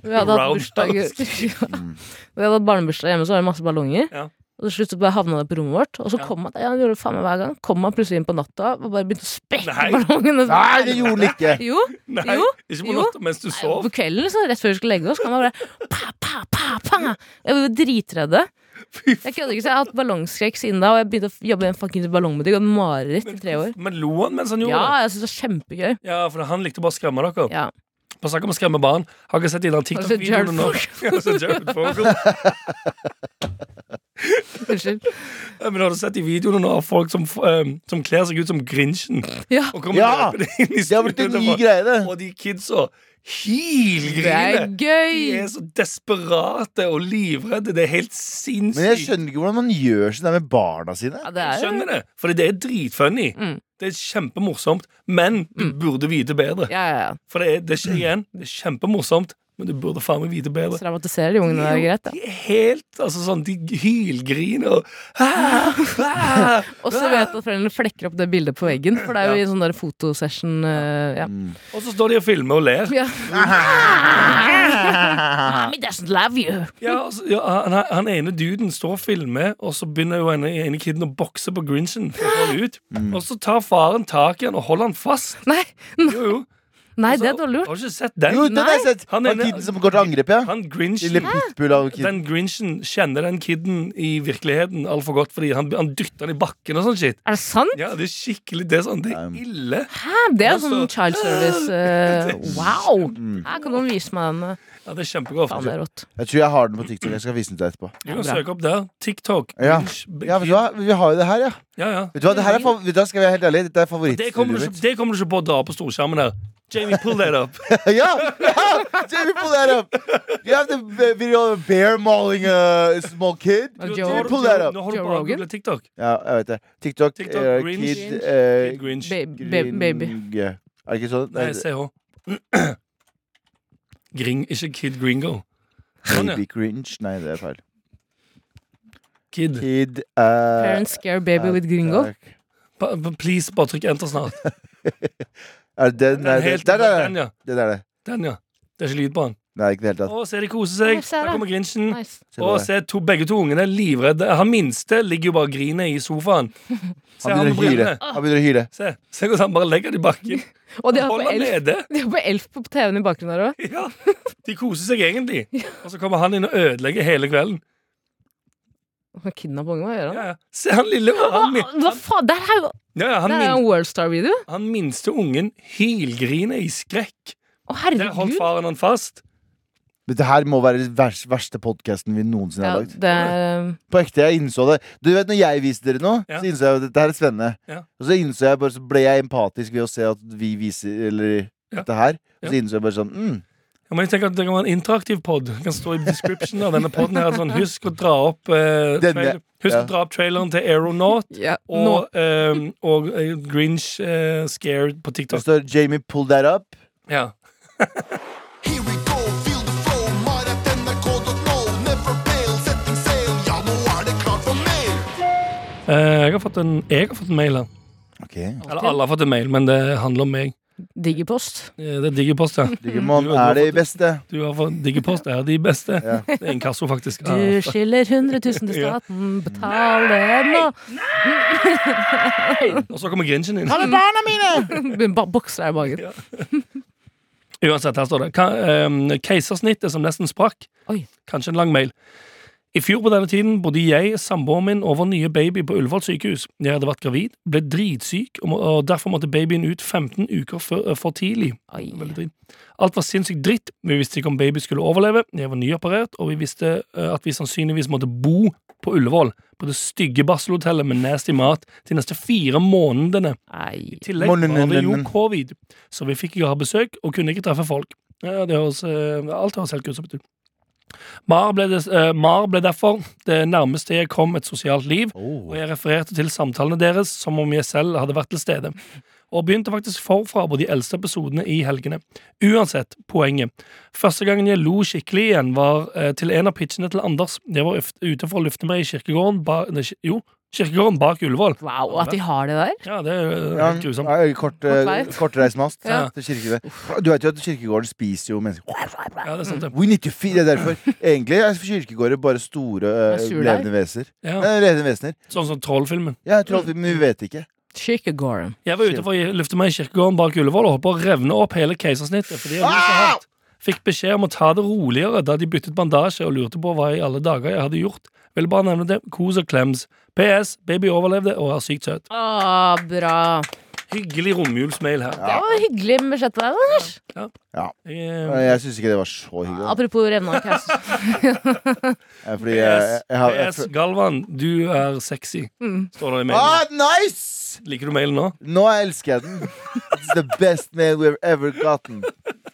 Speaker 3: vi hadde hatt
Speaker 4: Roundhouse
Speaker 3: bursdag ja. Vi hadde hatt barnebursdag hjemme, så var det masse ballonger.
Speaker 4: Ja.
Speaker 3: Og til slutt så bare havna det på rommet vårt, og så
Speaker 4: Ja.
Speaker 3: kom han, ja, han gjorde det faen meg hver gang. Kom han plutselig inn på natta og bare begynte å sprekke
Speaker 4: Nei.
Speaker 3: ballongene.
Speaker 2: Nei, det gjorde den ikke!
Speaker 3: Jo,
Speaker 4: Nei,
Speaker 3: Jo,
Speaker 4: ikke på
Speaker 3: jo.
Speaker 4: natta mens du sov.
Speaker 3: på kvelden, liksom, rett før vi skulle legge oss, kom han bare pa, pa, pa, pa. Jeg var dritredde.
Speaker 4: Fy
Speaker 3: Jeg kødder ikke, så jeg har hatt ballongskrekk siden da, og jeg begynte å jobbe i en fuckings ballongbutikk og hadde mareritt i tre år.
Speaker 4: Men lo han mens han gjorde
Speaker 3: Ja,
Speaker 4: det?
Speaker 3: jeg synes det var kjempegøy.
Speaker 4: Ja, for han likte bare å skremme dere.
Speaker 3: Ja. altså,
Speaker 4: På snakk om å skremme barn. Har dere sett de der
Speaker 3: Har dere sett Jared
Speaker 4: TikTok-videoene nå? Ja, har dere sett Jared Fogle?
Speaker 3: Unnskyld.
Speaker 4: Ja, Men har du sett de videoene nå av folk som, eh, som kler seg ut som Grinchen?
Speaker 3: Ja.
Speaker 4: Og kommer
Speaker 2: Ja!
Speaker 4: løpende inn i
Speaker 2: Det har blitt en
Speaker 4: studioet
Speaker 2: ny
Speaker 4: og-
Speaker 2: greie, det.
Speaker 4: Og de kidsa
Speaker 3: Det er
Speaker 4: hylgriner. De
Speaker 3: gøy!
Speaker 4: er så desperate og livredde. Det er
Speaker 2: Men
Speaker 4: helt
Speaker 2: jeg
Speaker 4: sinnssykt.
Speaker 2: skjønner ikke hvordan man gjør sånn der med barna sine.
Speaker 3: Ja, det
Speaker 4: Jeg
Speaker 3: er
Speaker 4: skjønner det, for det er dritfunny.
Speaker 3: Mm.
Speaker 4: Det er kjempemorsomt, men du burde vite bedre.
Speaker 3: Ja, ja, ja.
Speaker 4: For det er, det er ikke igjen, det er kjempemorsomt, men du burde faen meg vite bedre.
Speaker 3: Traumatiserer de ungene, det er greit,
Speaker 4: De er helt altså sånn, de hylgriner og ah, ah,
Speaker 3: da. Og så vet jeg at foreldrene flekker opp det bildet på veggen, for det er jo i sånn der fotosession eh, ja.
Speaker 4: Og så står de og filmer og ler.
Speaker 3: ja.
Speaker 4: Ah.
Speaker 3: Mommy doesn't love you.
Speaker 4: Ja, altså, ja, han, han ene duden står og filmer, og så begynner jo ene, ene kiden å bokse på Grinchen. for å få det ut.
Speaker 2: Mm.
Speaker 4: Og så tar faren tak i han og holder han fast.
Speaker 3: Nei,
Speaker 4: Jo, jo.
Speaker 3: nei, det
Speaker 4: Altså,
Speaker 3: er dårlig gjort.
Speaker 4: Har du ikke sett den?
Speaker 2: Jo, den har jeg sett.
Speaker 4: Han
Speaker 2: Han
Speaker 4: er-
Speaker 2: kiden som går til angrep, ja.
Speaker 4: Han Grinchen
Speaker 2: Lille pitbull av kid.
Speaker 4: Den Grinchen kjenner den kiden i virkeligheten altfor godt, fordi han, han dytter den i bakken og sånn shit.
Speaker 3: Er det sant?
Speaker 4: Ja, det er skikkelig det er sånn. Det er ille.
Speaker 3: Hæ, det er
Speaker 4: Altså-
Speaker 3: sånn child service. eh, wow!
Speaker 4: Mm.
Speaker 3: Her kan noen vise meg den. eh,
Speaker 4: Ja, det er kjempegrovt.
Speaker 3: Faen, det er rått.
Speaker 2: Jeg tror jeg har den på TikTok. Jeg skal vise den til deg etterpå.
Speaker 4: Du kan søke opp der. TikTok.
Speaker 2: Ja.
Speaker 4: Grinch, b-
Speaker 2: Ja, vet du hva? Vi har jo det her, ja.
Speaker 4: ja, ja.
Speaker 2: Vet du hva, det her er fav- vet du hva, Skal vi være helt ærlig, dette er
Speaker 4: Det kommer, du
Speaker 2: favorittstudioet
Speaker 4: ikke, det kommer du ikke på å dra på storskjermen her. Jamie, pull that up.
Speaker 2: ja! ja! Jamie, pull that up! You have the b- video of a bear mauling a small kid.
Speaker 3: Joe-
Speaker 4: Nå har du-
Speaker 2: Pull that up.
Speaker 4: Nå har du
Speaker 3: Joe
Speaker 4: bare
Speaker 3: Rogan?
Speaker 4: googlet TikTok.
Speaker 2: Ja, jeg vet det. TikTok,
Speaker 4: TikTok,
Speaker 2: eh,
Speaker 4: Grinch.
Speaker 2: kid eh,
Speaker 4: Kid Grinch.
Speaker 3: Ba ba
Speaker 2: Grinch.
Speaker 3: baby.
Speaker 2: Er det ikke sånn?
Speaker 4: Nei, CH. Gring, ikke Kid Gringo. Sånn, ja.
Speaker 2: Baby Grinch. Nei, det er feil.
Speaker 4: Kid.
Speaker 2: Kid eh,
Speaker 3: Parents scare baby with gringo.
Speaker 2: takk.
Speaker 4: Pa- pa- Please, bare trykk enter snart.
Speaker 2: Er det den?
Speaker 4: Den,
Speaker 2: Nei, det-
Speaker 4: helt,
Speaker 2: der, der,
Speaker 4: den,
Speaker 2: der.
Speaker 4: ja.
Speaker 2: Den er det.
Speaker 4: Den, ja. Det er ikke lyd på den.
Speaker 2: Nei, ikke i det hele tatt.
Speaker 4: Å, se de koser
Speaker 3: Å,
Speaker 4: seg.
Speaker 3: se
Speaker 4: Der
Speaker 3: det.
Speaker 4: kommer Grinchen.
Speaker 3: Nice.
Speaker 2: Se på
Speaker 4: Og
Speaker 2: det.
Speaker 4: se to, begge to ungene er livredde. Han minste ligger jo bare og griner i sofaen. Se
Speaker 2: Han begynner
Speaker 4: han med
Speaker 2: å hyle.
Speaker 4: brillene.
Speaker 2: Han begynner å hyle.
Speaker 4: Se, se hvordan han bare legger det i bakken.
Speaker 3: Og de har
Speaker 4: Hold
Speaker 3: på
Speaker 4: han
Speaker 3: Elf,
Speaker 4: nede.
Speaker 3: de har på, elf på TV-en i bakgrunnen her òg.
Speaker 4: Ja. De koser seg egentlig. Og så kommer han inn og ødelegger hele kvelden.
Speaker 3: Kidnappe unge, hva gjør han?
Speaker 4: Ja, ja. Se han lille han, min-
Speaker 3: Hva faen, der er jo
Speaker 4: ja, ja, han,
Speaker 3: Det er jo
Speaker 4: min,
Speaker 3: en Worldstar-video.
Speaker 4: han minste ungen hylgriner i skrekk.
Speaker 3: Å,
Speaker 4: Der holdt
Speaker 3: herregud.
Speaker 4: faren han fast.
Speaker 2: Dette her må være den vers, verste podkasten vi noensinne
Speaker 3: Ja,
Speaker 2: har lagd.
Speaker 3: det er um,
Speaker 2: På ekte, jeg innså det. Du vet, når jeg viste dere noe,
Speaker 4: Ja.
Speaker 2: så innså jeg at dette her er spennende.
Speaker 4: Ja.
Speaker 2: Og så innså jeg bare, så ble jeg empatisk ved å se at vi viser Eller
Speaker 4: Ja.
Speaker 2: dette her.
Speaker 4: Ja.
Speaker 2: Og så innså jeg bare sånn mm,
Speaker 4: Ja, men jeg tenker at Det kan være en interaktiv pod. Det kan stå i description av denne podden her sånn, Husk å dra opp eh,
Speaker 2: Denne,
Speaker 4: trail- Husk
Speaker 2: ja.
Speaker 4: å dra opp traileren til Aeronaut.
Speaker 3: ja, nå.
Speaker 4: Og, ehm, og eh, Grinch eh, Scared på
Speaker 2: Det
Speaker 4: TikTok.
Speaker 2: står 'Jamie, pull that up'.
Speaker 4: Ja.
Speaker 5: Here we go, feel the flow, maratnrk.no. Never fail, setting sail. Ja, nå er det klart for mer.
Speaker 4: Eh, jeg, har fått en, jeg har fått en mail her.
Speaker 2: Ok,
Speaker 4: Eller alle har fått en mail, men det handler om meg.
Speaker 3: Digipost.
Speaker 4: Eh, Det er Digipost, ja.
Speaker 2: Digimon er de beste.
Speaker 4: Du har fått Digipost er de beste.
Speaker 2: Ja.
Speaker 4: Det er inkasso, faktisk.
Speaker 3: Du
Speaker 4: Ja.
Speaker 3: skylder 100 000 til
Speaker 4: Ja.
Speaker 3: staten, betal det nå!
Speaker 4: Og så kommer Grinchen inn.
Speaker 3: barna mine! Bare bokser deg i magen.
Speaker 4: Uansett, her står det. Ka ehm, Keisersnittet som nesten sprakk.
Speaker 3: Oi.
Speaker 4: Kanskje en lang mail. I fjor på denne tiden bodde jeg, samboeren min og vår nye baby på Ullevål sykehus. Jeg hadde vært gravid, ble dritsyk, og, må, og derfor måtte babyen ut 15 uker for, for tidlig.
Speaker 3: Oi.
Speaker 4: Veldig dritt. Alt var sinnssykt dritt. Vi visste ikke om baby skulle overleve. Jeg var nyoperert, og vi visste eh, at vi sannsynligvis måtte bo på Ullevål, på det stygge barselhotellet med nasty mat, de neste fire månedene.
Speaker 3: Nei.
Speaker 4: I tillegg
Speaker 2: Månen,
Speaker 4: var det jo
Speaker 2: lønnen.
Speaker 4: covid, så vi fikk ikke ha besøk og kunne ikke treffe folk. Ja, det høres, eh, alt høres helt grusomt ut. Mar ble, des, eh, Mar ble derfor det nærmeste jeg kom et sosialt liv, og jeg refererte til samtalene deres som om jeg selv hadde vært til stede. Og begynte faktisk forfra på de eldste episodene i helgene. Uansett, poenget. Første gangen jeg lo skikkelig igjen, var eh, til en av pitchene til Anders. Jeg var øft- ute for å lufte meg i kirkegården, ba, nei, ki- jo, kirkegården bak Ullevål.
Speaker 3: Wow, at de har det der?
Speaker 4: Ja, det er eh,
Speaker 2: Ja,
Speaker 4: helt grusomt.
Speaker 2: ja, kort, eh,
Speaker 3: Kort vei.
Speaker 2: Kortreist mast
Speaker 4: Ja.
Speaker 2: til kirkegården. Du vet jo at kirkegården spiser jo mennesker.
Speaker 4: Ja, det er sant, det.
Speaker 2: We need to feed, det er derfor. Egentlig er kirkegårder bare store eh,
Speaker 3: Det er sur der.
Speaker 2: levende veser.
Speaker 4: Ja, Mm.
Speaker 2: Eh, levende vesener.
Speaker 4: sånn som Trollfilmen.
Speaker 2: Ja, jeg tror alltid, men vi vet ikke.
Speaker 3: Kirkegården.
Speaker 4: Jeg var ute for å lufte meg i kirkegården bak Ullevål og holdt på å revne opp hele keisersnittet fordi jeg lo
Speaker 2: Ah!
Speaker 4: så hardt. Fikk beskjed om å ta det roligere da de byttet bandasje og lurte på hva i alle dager jeg hadde gjort. Ville bare nevne det. Kos og klems. PS. Baby overlevde og er sykt søt.
Speaker 3: Å, bra.
Speaker 4: Hyggelig romjulsmail her.
Speaker 3: Det var hyggelig budsjett av deg, Anders.
Speaker 4: Jeg,
Speaker 2: Eh, Jeg syns ikke det var så hyggelig.
Speaker 3: Apropos revna kaus.
Speaker 2: Eh, Fordi jeg, jeg,
Speaker 4: PS.
Speaker 2: jeg, har- jeg,
Speaker 4: PS. Galvan, du er sexy, står det i
Speaker 2: Ah,
Speaker 4: mailen.
Speaker 2: nice!
Speaker 4: Liker du mailen nå?
Speaker 2: Nå elsker jeg den. It's the best mail we've ever gotten.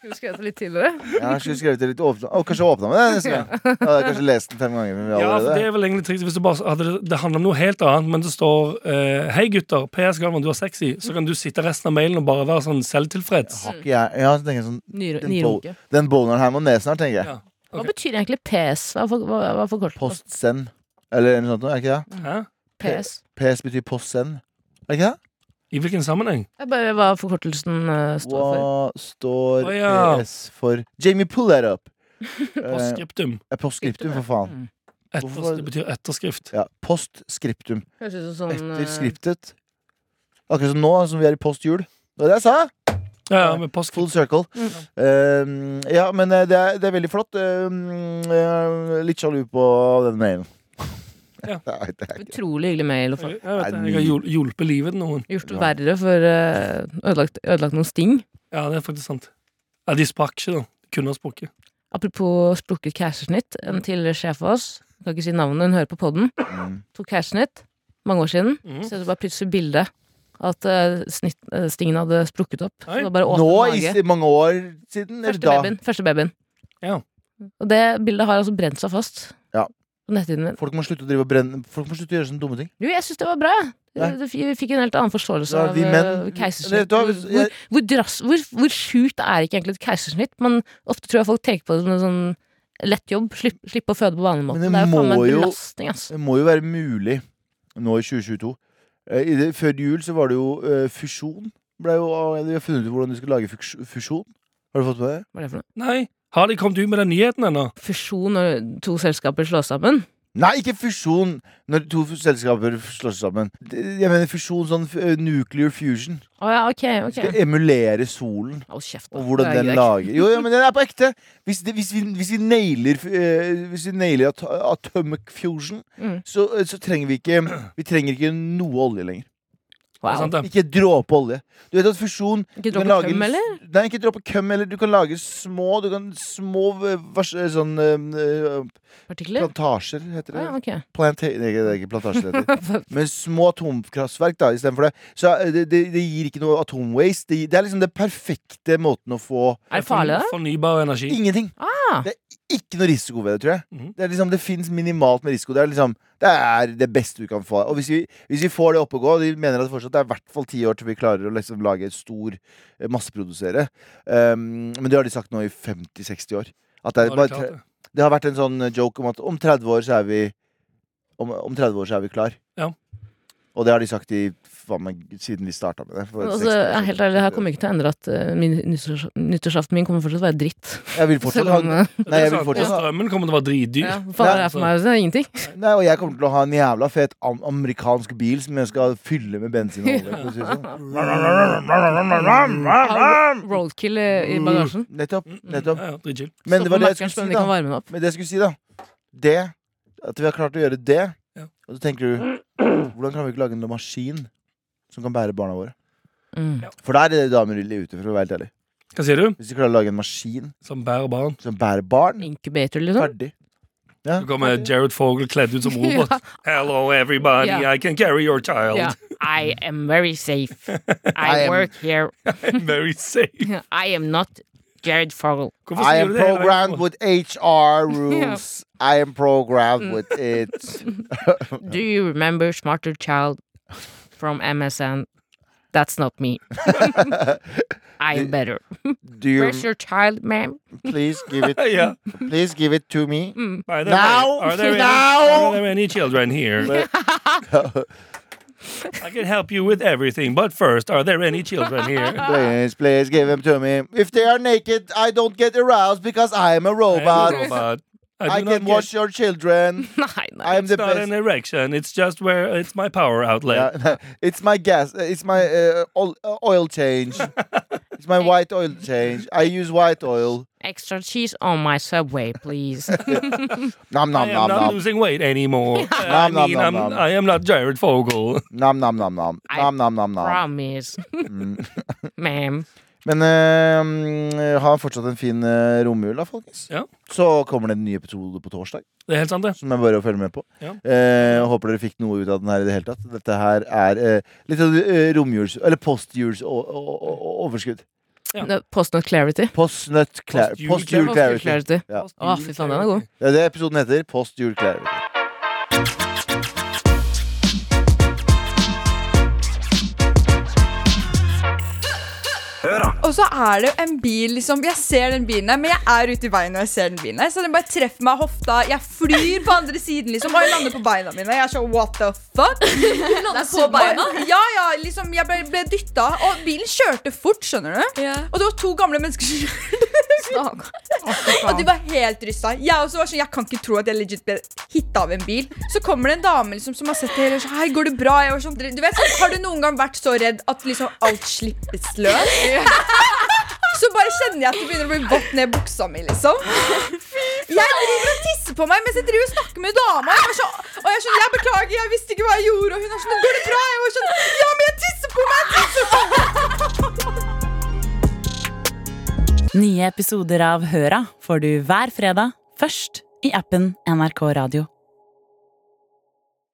Speaker 3: Skulle skrevet det litt tidligere.
Speaker 2: Jeg har ikke skrevet det litt åpna Å, Kanskje åpna med det neste gang. Jeg hadde kanskje lest den fem ganger. Men vi
Speaker 4: Ja, for
Speaker 2: allerede.
Speaker 4: det er vel egentlig trist hvis du bare hadde det, det handler om noe helt annet, men det står eh, Hei gutter, PS Galvan, du er sexy. Så kan du sitte resten av mailen og bare være sånn selvtilfreds.
Speaker 2: Har ikke jeg, jeg har tenkt sånn
Speaker 3: Nyre-
Speaker 2: Den
Speaker 3: Nyrunke.
Speaker 2: Den boneren her må ned snart, tenker jeg.
Speaker 4: Ja.
Speaker 3: Hva
Speaker 4: Ok.
Speaker 3: betyr egentlig PS? Hva er for- hva- hva er forkortelsen? for
Speaker 2: Post send. Eller noe sånt, noe, er ikke det?
Speaker 4: Hæ?
Speaker 3: PS.
Speaker 2: PS betyr post send. Er ikke det?
Speaker 4: I hvilken sammenheng?
Speaker 3: Det er bare hva forkortelsen eh, står
Speaker 2: Hva
Speaker 3: for.
Speaker 2: står
Speaker 4: Å, ja.
Speaker 2: PS for? Jamie, pull that up! Eh,
Speaker 4: Postskriptum.
Speaker 2: postskriptum, for faen.
Speaker 3: Mm.
Speaker 4: Etters,
Speaker 2: hvorfor-
Speaker 4: det betyr etterskrift.
Speaker 2: Ja, postskriptum.
Speaker 3: Høres ut som sånn
Speaker 2: Etter
Speaker 3: eh,
Speaker 2: skriptet. Akkurat som nå, som vi er i postjul. Det var det jeg sa!
Speaker 4: Ja, ja, men postskriptum
Speaker 2: Full circle.
Speaker 3: Mm.
Speaker 2: Um, ja, men eh, det er, det er veldig flott. Um, jeg er litt sjalu på den mailen.
Speaker 4: Ja.
Speaker 2: Nei, det er ikke
Speaker 3: Utrolig hyggelig mail. å
Speaker 4: Jeg
Speaker 3: få.
Speaker 4: vet det, jeg har hjul- hjulpet livet til noen.
Speaker 3: Gjort det verre for eh, ødelagt, ødelagt noen sting.
Speaker 4: Ja, det er faktisk sant. Ja, De sprakk ikke, da. De Kunne ha sprukket.
Speaker 3: Apropos sprukket keisersnitt. En tidligere sjef av oss, jeg kan ikke si navnet, hun hører på podden,
Speaker 2: Mm.
Speaker 3: tok keisersnitt mange år siden.
Speaker 4: Mhm.
Speaker 3: Så det var plutselig bilde at eh, snitt, eh, stingen hadde sprukket opp. Så
Speaker 4: Oi.
Speaker 3: det var bare
Speaker 2: Nå, i
Speaker 3: åpen mage.
Speaker 2: s- mange år siden? Eller
Speaker 3: Første
Speaker 2: da?
Speaker 3: babyen. Første babyen.
Speaker 4: Ja.
Speaker 3: Og det bildet har altså brent seg fast
Speaker 2: Ja.
Speaker 3: på netthinnen min.
Speaker 2: Folk må slutte å drive og brenne Folk må slutte å gjøre sånne dumme ting.
Speaker 3: Jo, jeg syns det var bra, jeg.
Speaker 2: Ja.
Speaker 3: Det- Vi fikk en helt annen forståelse
Speaker 2: Ja,
Speaker 3: av
Speaker 2: vi menn-
Speaker 3: eh,
Speaker 2: Vet
Speaker 3: keisersnitt.
Speaker 2: du hva,
Speaker 3: Hvor,
Speaker 2: hvis- jeg-
Speaker 3: hvor, hvor, drass, hvor, hvor sjukt er ikke egentlig et keisersnitt? Men ofte tror jeg folk tenker på det som en sånn lett jobb. Slipp, slippe å føde på vanlig måte.
Speaker 2: Men det
Speaker 3: Det, er jo faen meg
Speaker 2: må jo-
Speaker 3: en belastning, ass.
Speaker 2: Det må jo være mulig nå i 2022. Eh, i det, før jul så var det jo eh, fusjon. Ble jo, de har funnet ut hvordan de skal lage fuks- fusjon. Har du fått med det?
Speaker 3: Hva er det for noe?
Speaker 4: Nei! Har de kommet ut med den nyheten ennå?
Speaker 3: Fusjon når to selskaper slås sammen?
Speaker 2: Nei, ikke fusjon! Når to f- selskaper slår seg sammen. Det- Jeg mener fusjon sånn f- eh, nuclear fusion.
Speaker 3: Å ja, ok, ok.
Speaker 2: Skal emulere solen.
Speaker 3: Hold kjeft, da.
Speaker 2: Og hvordan
Speaker 3: Det er
Speaker 2: den
Speaker 3: greit.
Speaker 2: lager Jo, jo, men den er på ekte! Hvis, det, hvis, vi, hvis vi nailer, eh, hvis vi nailer at, atomic fusion,
Speaker 3: Mm.
Speaker 2: så, eh, så trenger vi ikke Vi trenger ikke noe olje lenger.
Speaker 4: Det er sant,
Speaker 3: Wow.
Speaker 4: det.
Speaker 2: Ikke en dråpe olje. Du vet at fusjon du
Speaker 3: Ikke
Speaker 2: kan
Speaker 3: dråpe
Speaker 2: lage en
Speaker 3: tøm,
Speaker 2: s-
Speaker 3: eller?
Speaker 2: Nei, ikke dråpe køm heller. Du kan lage små Du kan små eh, vers, eh, sånn eh, eh,
Speaker 3: Partikler?
Speaker 2: Plantasjer, heter
Speaker 3: Å
Speaker 2: det.
Speaker 3: ja, Ah, ok.
Speaker 2: Planta nei, det er ikke plantasjer, det heter. Men små atomkraftverk, da, istedenfor det. Så eh, det, det, det gir ikke noe atomwaste. Det, det er liksom den perfekte måten å få
Speaker 3: Er det farlig, da?
Speaker 4: Fornybar energi.
Speaker 2: Ingenting.
Speaker 3: Ah.
Speaker 2: Det er ikke noe risiko ved det, tror jeg.
Speaker 4: Mhm.
Speaker 2: Det, er liksom, det fins minimalt med risiko. Det er, liksom, det er det beste du kan få. Og hvis vi, hvis vi får det opp og gå, og de mener at fortsatt det er i hvert fall ti år til vi klarer å liksom lage et stor eh, masseprodusere um, Men det har de sagt nå i 50-60 år. At det,
Speaker 4: Har
Speaker 2: er
Speaker 4: de
Speaker 2: bare,
Speaker 4: klart
Speaker 2: tre-
Speaker 4: det?
Speaker 2: det har vært eh, en sånn joke om at om 30 år så er vi om, om 30 år så er vi klar.
Speaker 4: Ja.
Speaker 2: Og det har de sagt i, faen meg, siden vi starta med det. for
Speaker 3: Altså,
Speaker 2: 60 år
Speaker 3: ja,
Speaker 2: siden.
Speaker 3: helt ærlig, det her kommer ikke til å endre at eh, min nyttårs- nyttårsaften min kommer fortsatt til å være dritt.
Speaker 2: Jeg vil fortsatt
Speaker 3: Selv
Speaker 2: ha
Speaker 3: om eh,
Speaker 2: Nei, jeg vil
Speaker 4: Sant,
Speaker 2: fortsatt-
Speaker 4: Strømmen kommer til å være dritdyr.
Speaker 3: ja, fader, det er for meg så er det ingenting.
Speaker 2: Nei, og jeg kommer til å ha en jævla fet am amerikansk bil som jeg skal fylle med bensin og olje. for å si det sånn.
Speaker 3: Roadkill i, i bagasjen.
Speaker 2: Nettopp. nettopp
Speaker 4: Ja, ja, dritchill.
Speaker 2: Men det var det jeg
Speaker 3: si,
Speaker 2: skulle si,
Speaker 3: Kan
Speaker 2: da.
Speaker 3: varme den opp.
Speaker 2: Men det jeg skulle si, da. Det. At vi har klart å gjøre det.
Speaker 4: Ja.
Speaker 2: Og så tenker du Hvordan kan vi ikke lage en maskin som kan bære barna våre?
Speaker 3: Mm.
Speaker 2: For der er det damer ille ute, for å være helt ærlig.
Speaker 4: Hva sier du?
Speaker 2: Hvis vi klarer å lage en maskin
Speaker 4: Som bærer barn.
Speaker 2: som bærer barn,
Speaker 3: Incubator, liksom.
Speaker 2: ferdig.
Speaker 4: Så kommer Jared Fogle kledd ut som robot.
Speaker 3: Ja.
Speaker 4: Hello everybody,
Speaker 3: Ja.
Speaker 4: I can carry your child.
Speaker 3: Ja. I am very safe.
Speaker 2: I am- work
Speaker 3: here.
Speaker 4: I'm very safe.
Speaker 3: I am not Jared Fogle.
Speaker 4: Hvorfor
Speaker 2: I
Speaker 4: sier
Speaker 2: am
Speaker 4: du det? hele veien?
Speaker 2: programmed with HR rules. I am programmed with it.
Speaker 3: Do you remember Smarter Child from MSN? That's not me. I am better.
Speaker 2: Do you
Speaker 3: your child, ma'am?
Speaker 2: please give it
Speaker 4: Ja.
Speaker 2: Please give it to me.
Speaker 4: By the
Speaker 2: Now!
Speaker 4: way, are there, any,
Speaker 2: Now!
Speaker 4: are there any children here? I can help you with everything, but first, are there any children here?
Speaker 2: Please, please give them to me. If they are naked, I don't get aroused because I am a
Speaker 4: I
Speaker 2: robot.
Speaker 4: am a robot. I,
Speaker 2: I
Speaker 4: do
Speaker 2: can
Speaker 4: not
Speaker 2: watch
Speaker 4: get-
Speaker 2: your children.
Speaker 3: Nei,
Speaker 2: I
Speaker 3: nei.
Speaker 2: am the
Speaker 4: It's not an
Speaker 2: best.
Speaker 4: erection. It's just where it's my power outlet.
Speaker 2: Yeah, it's my gas. It's my uh, oil, uh, oil change. It's my white oil change. I use white oil.
Speaker 3: Extra cheese on my subway, please.
Speaker 2: Nom
Speaker 4: I
Speaker 2: nom
Speaker 4: am
Speaker 2: nom
Speaker 4: not
Speaker 2: nom.
Speaker 4: losing weight anymore. I
Speaker 2: Nom, nom,
Speaker 4: mean,
Speaker 2: nom,
Speaker 4: I'm,
Speaker 2: nom.
Speaker 4: I am not Jared Fogle.
Speaker 2: Nom nom nom nom.
Speaker 3: I
Speaker 2: Nom nom nom nom.
Speaker 3: Promise.
Speaker 2: Mm.
Speaker 3: Ma'am.
Speaker 2: Men eh, ha fortsatt en fin eh, romjul, da, folkens.
Speaker 4: Ja.
Speaker 2: Så kommer det en ny episode på torsdag.
Speaker 4: Det er helt sant, det.
Speaker 2: som jeg bare følger med på.
Speaker 4: Ja.
Speaker 2: Eh, jeg håper dere fikk noe ut av den her i det hele tatt. Dette her er eh, litt av eh, romjuls... Eller postjuls o- o- o- overskudd.
Speaker 4: Ja.
Speaker 3: No, Postnot clarity.
Speaker 2: Postnut cla-
Speaker 4: Postjul-
Speaker 2: Postjul
Speaker 3: Postnut
Speaker 2: clarity.
Speaker 3: clarity.
Speaker 2: Ja.
Speaker 3: Å, fy faen, den er god.
Speaker 2: Det er det episoden heter. Postjul clarity.
Speaker 6: Og så er det jo en bil liksom Jeg ser den bilen her, men jeg er ute i veien når jeg ser den bilen her. Så den bare treffer meg i hofta. Jeg flyr på andre siden, liksom. Og jeg lander på beina mine. Jeg er sånn what the fuck?
Speaker 7: Lande på beina.
Speaker 6: Ja, ja, liksom. Jeg ble, ble dytta. Og bilen kjørte fort, skjønner du.
Speaker 7: Ja.
Speaker 6: Og det var to gamle mennesker som kjørte. og de var helt rysta. Jeg også var sånn, jeg kan ikke tro at jeg legit ble hitta av en bil. Så kommer det en dame liksom, som har sett det hele og sånn Hei, går det bra? Jeg var sånn, du vet, sånn, Har du noen gang vært så redd at liksom alt slippes løs? Så bare kjenner jeg at det begynner å bli vått ned i buksa mi, liksom. Jeg driver og tisser på meg mens jeg driver og snakker med dama. Jeg var så, og jeg er sånn, jeg beklager, jeg visste ikke hva jeg gjorde. Og hun er sånn, går det bra? Jeg var sånn, ja, men jeg tisser på meg! jeg tisser på meg.
Speaker 8: Nye episoder av Høra får du hver fredag, først i appen NRK Radio.